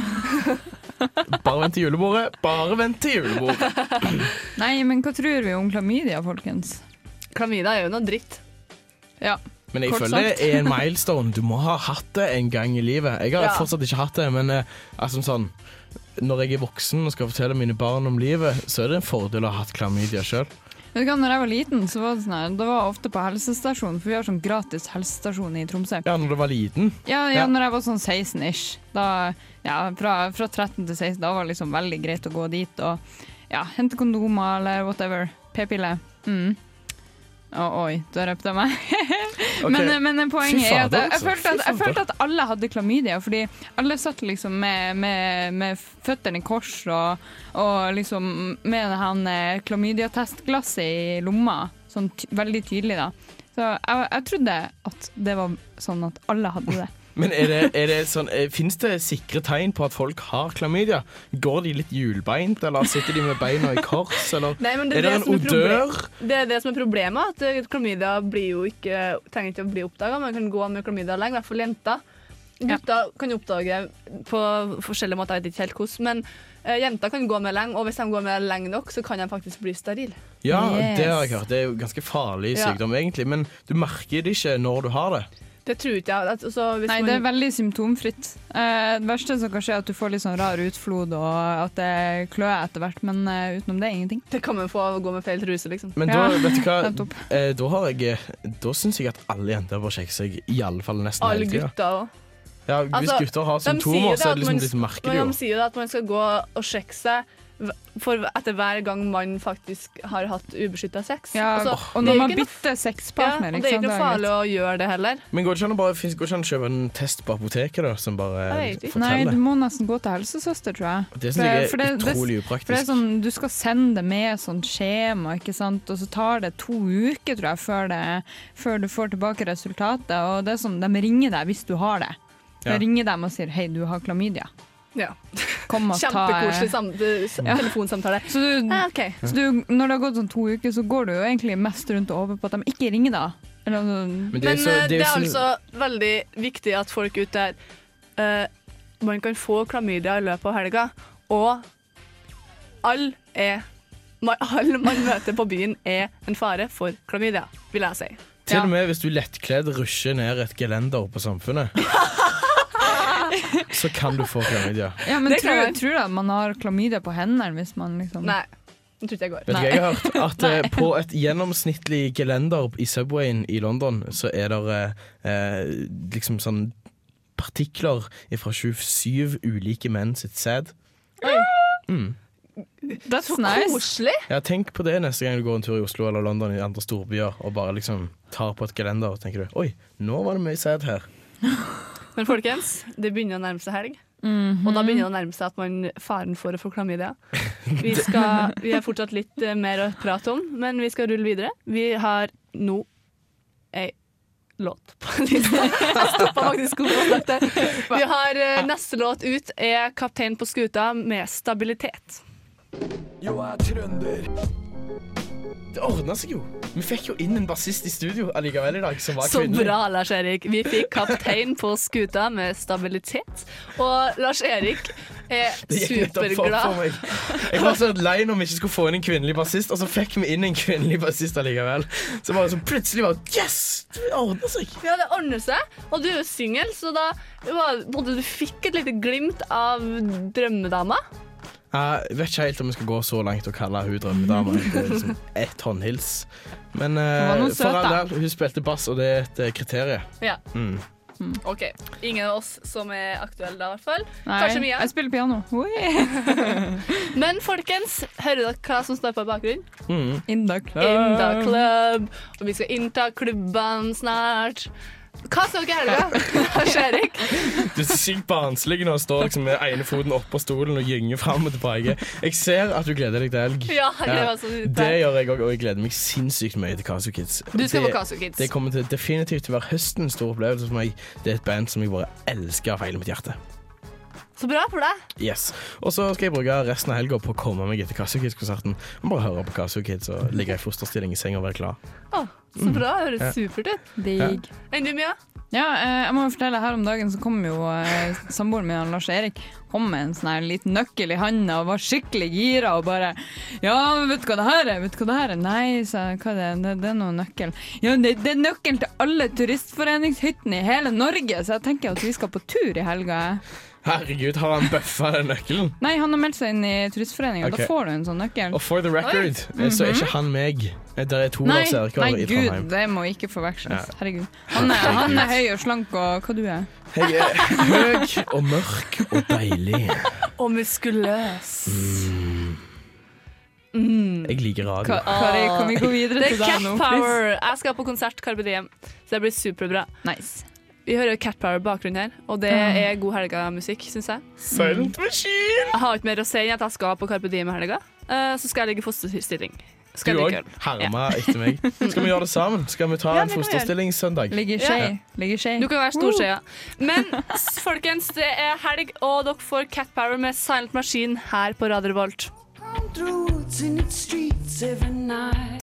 Speaker 5: Bare vent til julebordet. Bare vent til julebordet.
Speaker 6: Nei, men hva tror vi om klamydia, folkens?
Speaker 1: Klamydia er jo noe dritt.
Speaker 6: Ja.
Speaker 5: Men jeg
Speaker 6: Kort
Speaker 5: føler
Speaker 6: sagt.
Speaker 5: det er en milestone. Du må ha hatt det en gang i livet. Jeg har
Speaker 6: Ja.
Speaker 5: fortsatt ikke hatt det, men eh, altså sånn når jeg er voksen og skal fortelle mine barn om livet, så er det en fordel å ha hatt klamydia sjøl.
Speaker 6: Vet du hva, når jeg var liten, så var det sånn her, da var jeg ofte på helsestasjonen, for vi har sånn gratis helsestasjon i Tromsø.
Speaker 5: Ja, når du var liten.
Speaker 6: Ja, ja,
Speaker 5: Ja.
Speaker 6: når jeg var sånn 16-ish. Da, ja, fra, fra 13 til 16, da var det liksom veldig greit å gå dit og ja, hente kondomer eller whatever. P-pille. Mm. Å, oi, da røpte jeg meg. men,
Speaker 8: Ok.
Speaker 6: men
Speaker 8: Fy
Speaker 6: poenget er at
Speaker 8: fader,
Speaker 6: jeg, jeg,
Speaker 8: altså.
Speaker 6: følte at,
Speaker 8: Fy
Speaker 6: jeg
Speaker 8: fader.
Speaker 6: følte at alle hadde klamydia, fordi alle satt liksom med, med, med føttene i kors og, og liksom med det her eh, klamydiatestglasset i lomma, sånn ty veldig tydelig da. Så jeg, jeg trodde at det var sånn at alle hadde det.
Speaker 5: Men er det, er det sånn, eh, finnes det sikre tegn på at folk har klamydia? Går de litt hjulbeint, eller sitter de med beina i kors, eller
Speaker 1: Nei, men det
Speaker 5: er
Speaker 1: er
Speaker 5: det
Speaker 1: det,
Speaker 5: en
Speaker 1: som er
Speaker 5: odør?
Speaker 1: proble- det er det som er problemet, at eh, klamydia blir jo ikke, trenger ikke å bli oppdaga. Man kan gå med klamydia lenge, i hvert fall jenter. Gutter kan jo oppdage på forskjellige måter, jeg vet ikke helt hvordan, men eh, jenter kan gå med lenge, og hvis de går med lenge nok, så kan de faktisk bli sterile.
Speaker 5: Ja, det har jeg hørt. Det er jo ganske farlig
Speaker 1: Ja.
Speaker 5: sykdom, egentlig, men du merker det ikke når du har det.
Speaker 1: Det tror ikke jeg. at- altså, hvis
Speaker 6: Nei,
Speaker 1: man-
Speaker 6: det er veldig symptomfritt. Eh, det verste som kan skje, er at du får litt sånn rar utflod, og at det klør etter hvert, men eh, utenom det, ingenting.
Speaker 1: Det kan man få av å gå med feil truse, liksom.
Speaker 5: Men da,
Speaker 6: Ja,
Speaker 5: vet du hva,
Speaker 6: nettopp.
Speaker 5: eh, da, har jeg, da syns jeg at alle jenter bør sjekke seg, iallfall nesten
Speaker 1: Alle
Speaker 5: hele tida.
Speaker 1: gutter Altså, òg.
Speaker 5: Ja,
Speaker 6: Altså,
Speaker 5: hvis gutter har symptomer, så er det liksom litt merkelig.
Speaker 1: Men
Speaker 5: jo.
Speaker 1: de sier jo det at man skal gå og sjekke seg v- for etter hver gang man faktisk har hatt ubeskytta sex.
Speaker 6: Ja,
Speaker 1: Altså,
Speaker 6: og
Speaker 1: det er
Speaker 6: når
Speaker 1: jo
Speaker 6: man
Speaker 1: ikke noe-
Speaker 6: bytter sexpartner,
Speaker 1: ja, og
Speaker 6: ikke
Speaker 1: Det er
Speaker 6: sant, da
Speaker 1: ikke noe
Speaker 6: er det
Speaker 1: farlig å gjøre det heller.
Speaker 5: Men går det ikke an å bare, finnes- går det ikke an å kjøpe en test på apoteket, da? Som bare
Speaker 6: Jeg vet ikke. Nei,
Speaker 5: forteller?
Speaker 6: du må nesten gå til helsesøster, tror
Speaker 5: eh,
Speaker 6: jeg.
Speaker 5: liksom, Det synes jeg er utrolig upraktisk.
Speaker 6: For det er sånn, du skal sende det med sånn skjema, ikke sant? og så tar det to uker tror jeg, før, det, før du får tilbake resultatet. Og det er sånn, de ringer deg hvis du har det. De
Speaker 1: Ja.
Speaker 6: ringer dem og sier 'hei, du har klamydia'.
Speaker 1: Ja.
Speaker 6: Kom og ta
Speaker 1: Kjempekoselig sam s-
Speaker 6: Ja.
Speaker 1: telefonsamtale.
Speaker 6: Så, du,
Speaker 1: Ja, ok.
Speaker 6: så du, når det har gått sånn to uker, så går du jo egentlig mest rundt og håper på at de ikke ringer deg. Eller, sånn-
Speaker 1: Men, eh, det er altså veldig viktig at folk ute der eh, Man kan få klamydia i løpet av helga, og all er man, All man møter på byen, er en fare for klamydia, vil jeg si.
Speaker 5: Til og med hvis du lettkledd rusher ned et gelender på Samfunnet, så kan du få klamydia.
Speaker 6: Ja, men
Speaker 1: Det kan
Speaker 6: tror,
Speaker 1: være.
Speaker 6: tror du at man har klamydia på hendene hvis man liksom
Speaker 1: Nei, det tror ikke jeg går.
Speaker 5: Vet du hva jeg har hørt? At eh, på et gjennomsnittlig gelender i Subwayen i London, så er det eh, liksom sånn partikler fra 27 ulike menn sitt sæd. Mm.
Speaker 6: That's
Speaker 1: Så
Speaker 6: nice.
Speaker 1: koselig!
Speaker 5: Ja, tenk på det neste gang du går en tur i Oslo eller London i andre storbyer og bare liksom tar på et gelender og tenker du, oi, nå var det mye sæd her.
Speaker 1: Men folkens, det begynner å nærme seg helg.
Speaker 6: Mhm.
Speaker 1: Og da begynner det å nærme seg at man faren for å få klamydia. Vi, skal, vi har fortsatt litt eh, mer å prate om, men vi skal rulle videre. Vi har nå ei låt på lista. Jeg stoppa faktisk opp og snakket der. Vi har eh, neste låt ut er 'Kaptein på skuta' med 'Stabilitet'.
Speaker 5: Jo, jeg er trønder. Det ordna seg jo. Vi fikk jo inn en bassist i studio allikevel i dag, som var
Speaker 1: Så
Speaker 5: kvinnelig.
Speaker 1: bra, Lars Erik. Vi fikk kaptein på skuta med stabilitet. Og Lars Erik er
Speaker 5: Det gikk nettopp opp for
Speaker 1: superglad.
Speaker 5: meg. Jeg var så lei når vi ikke skulle få inn en kvinnelig bassist, og så fikk vi inn en kvinnelig bassist allikevel. Så bare så plutselig bare Yes! Det ordner seg.
Speaker 1: Ja, det ordner seg. Og du er jo singel, så da var- både du fikk et lite glimt av drømmedama.
Speaker 5: Jeg vet ikke helt om vi skal gå så langt og kalle hun drømmedama. Det er liksom Ett håndhils. Men eh,
Speaker 1: Hun var noe søt,
Speaker 5: for all
Speaker 1: da.
Speaker 5: del, hun spilte bass, og det er et eh, kriterium.
Speaker 1: Ja,
Speaker 5: Mm.
Speaker 1: OK. Ingen av oss som er aktuelle da, i hvert fall.
Speaker 6: Nei,
Speaker 1: Kanskje Mia.
Speaker 6: jeg spiller piano. Oi.
Speaker 1: Men folkens, hører dere hva som står på bakgrunnen?
Speaker 5: Mm.
Speaker 6: In the club.
Speaker 1: In the club. Og vi skal innta klubbene snart. Hva skal dere gjøre da? Lars Erik?
Speaker 5: Du er sykt barnslig når du står liksom med ene foten oppå stolen og gynger fram og tilbake. Jeg ser at du gleder deg til helg.
Speaker 1: Ja, jeg gleder meg så sykt til
Speaker 5: Det
Speaker 1: helg.
Speaker 5: gjør jeg òg, og jeg gleder meg sinnssykt mye til Kasu Kids.
Speaker 1: Du skal
Speaker 5: Det-
Speaker 1: på Kasu Kids.
Speaker 5: Det kommer til definitivt til å være høstens store opplevelse for meg. Det er et band som jeg bare elsker av hele mitt hjerte.
Speaker 1: Så bra for deg.
Speaker 5: Yes. Og så skal jeg bruke resten av helga på å komme meg etter Kasu Kids-konserten. Og Bare høre på Kasu Kids og ligge i fosterstilling i seng og være klar.
Speaker 1: Å, så bra. Det høres
Speaker 5: Ja.
Speaker 1: supert ut.
Speaker 6: Digg.
Speaker 1: Enn du, Mia?
Speaker 6: Ja, eh, jeg må jo fortelle her om dagen så kom jo eh, samboeren min, Lars Erik, kom med en sånn her liten nøkkel i handa og var skikkelig gira og bare Ja, vet du hva det her er? Vet du hva det her er? Nei, sa jeg. Hva er det? Det, det er noe nøkkel. Ja, det, det er nøkkelen til alle turistforeningshyttene i hele Norge, så jeg tenker at vi skal på tur i helga. jeg.
Speaker 5: Herregud, har han bøffa den nøkkelen?
Speaker 6: Nei, han har meldt seg inn i Turistforeningen.
Speaker 5: Ok.
Speaker 6: Da får du en sånn nøkkel.
Speaker 5: Og for the record, eh,
Speaker 6: Oi.
Speaker 5: så er
Speaker 6: Mhm.
Speaker 5: ikke han meg. Det er to
Speaker 6: Nei,
Speaker 5: Lars
Speaker 6: nei,
Speaker 5: Erikere i Trondheim.
Speaker 6: gud, det må ikke forveksles.
Speaker 5: Ja.
Speaker 6: Herregud. Han er, han er høy og slank, og hva du er?
Speaker 5: Jeg er høy og mørk og deilig. Mm.
Speaker 1: Og muskuløs.
Speaker 5: Jeg liker radio.
Speaker 1: Ka-
Speaker 6: Kari, kan vi gå videre
Speaker 1: det
Speaker 6: til
Speaker 1: er
Speaker 6: deg
Speaker 1: Cat
Speaker 6: nå,
Speaker 1: Power. Jeg skal på konsert Carpe Diem, så det blir superbra.
Speaker 6: Nice. Ah.
Speaker 1: Vi hører Cat Power i bakgrunnen her, og det
Speaker 6: Ja.
Speaker 1: er god helga-musikk, syns jeg.
Speaker 5: Send
Speaker 1: Jeg har ikke mer å si enn at jeg skal på Carpe Diem i helga. Eh, Så skal jeg ligge i fosterstilling. Skal
Speaker 5: Du
Speaker 1: jeg
Speaker 5: òg
Speaker 1: drikke øl.
Speaker 5: herma etter meg. Skal vi gjøre det sammen? Skal vi ta
Speaker 1: Ja,
Speaker 5: en
Speaker 1: det kan vi
Speaker 5: fosterstilling søndag?
Speaker 6: Ligger i skje.
Speaker 5: Ja.
Speaker 6: Ligger i skje.
Speaker 1: Du kan være stor skje, ja. Men s- folkens, det er helg, og dere får Cat Power med Silent Machine her på Radio Revolt.
Speaker 16: Through its in its streets every night.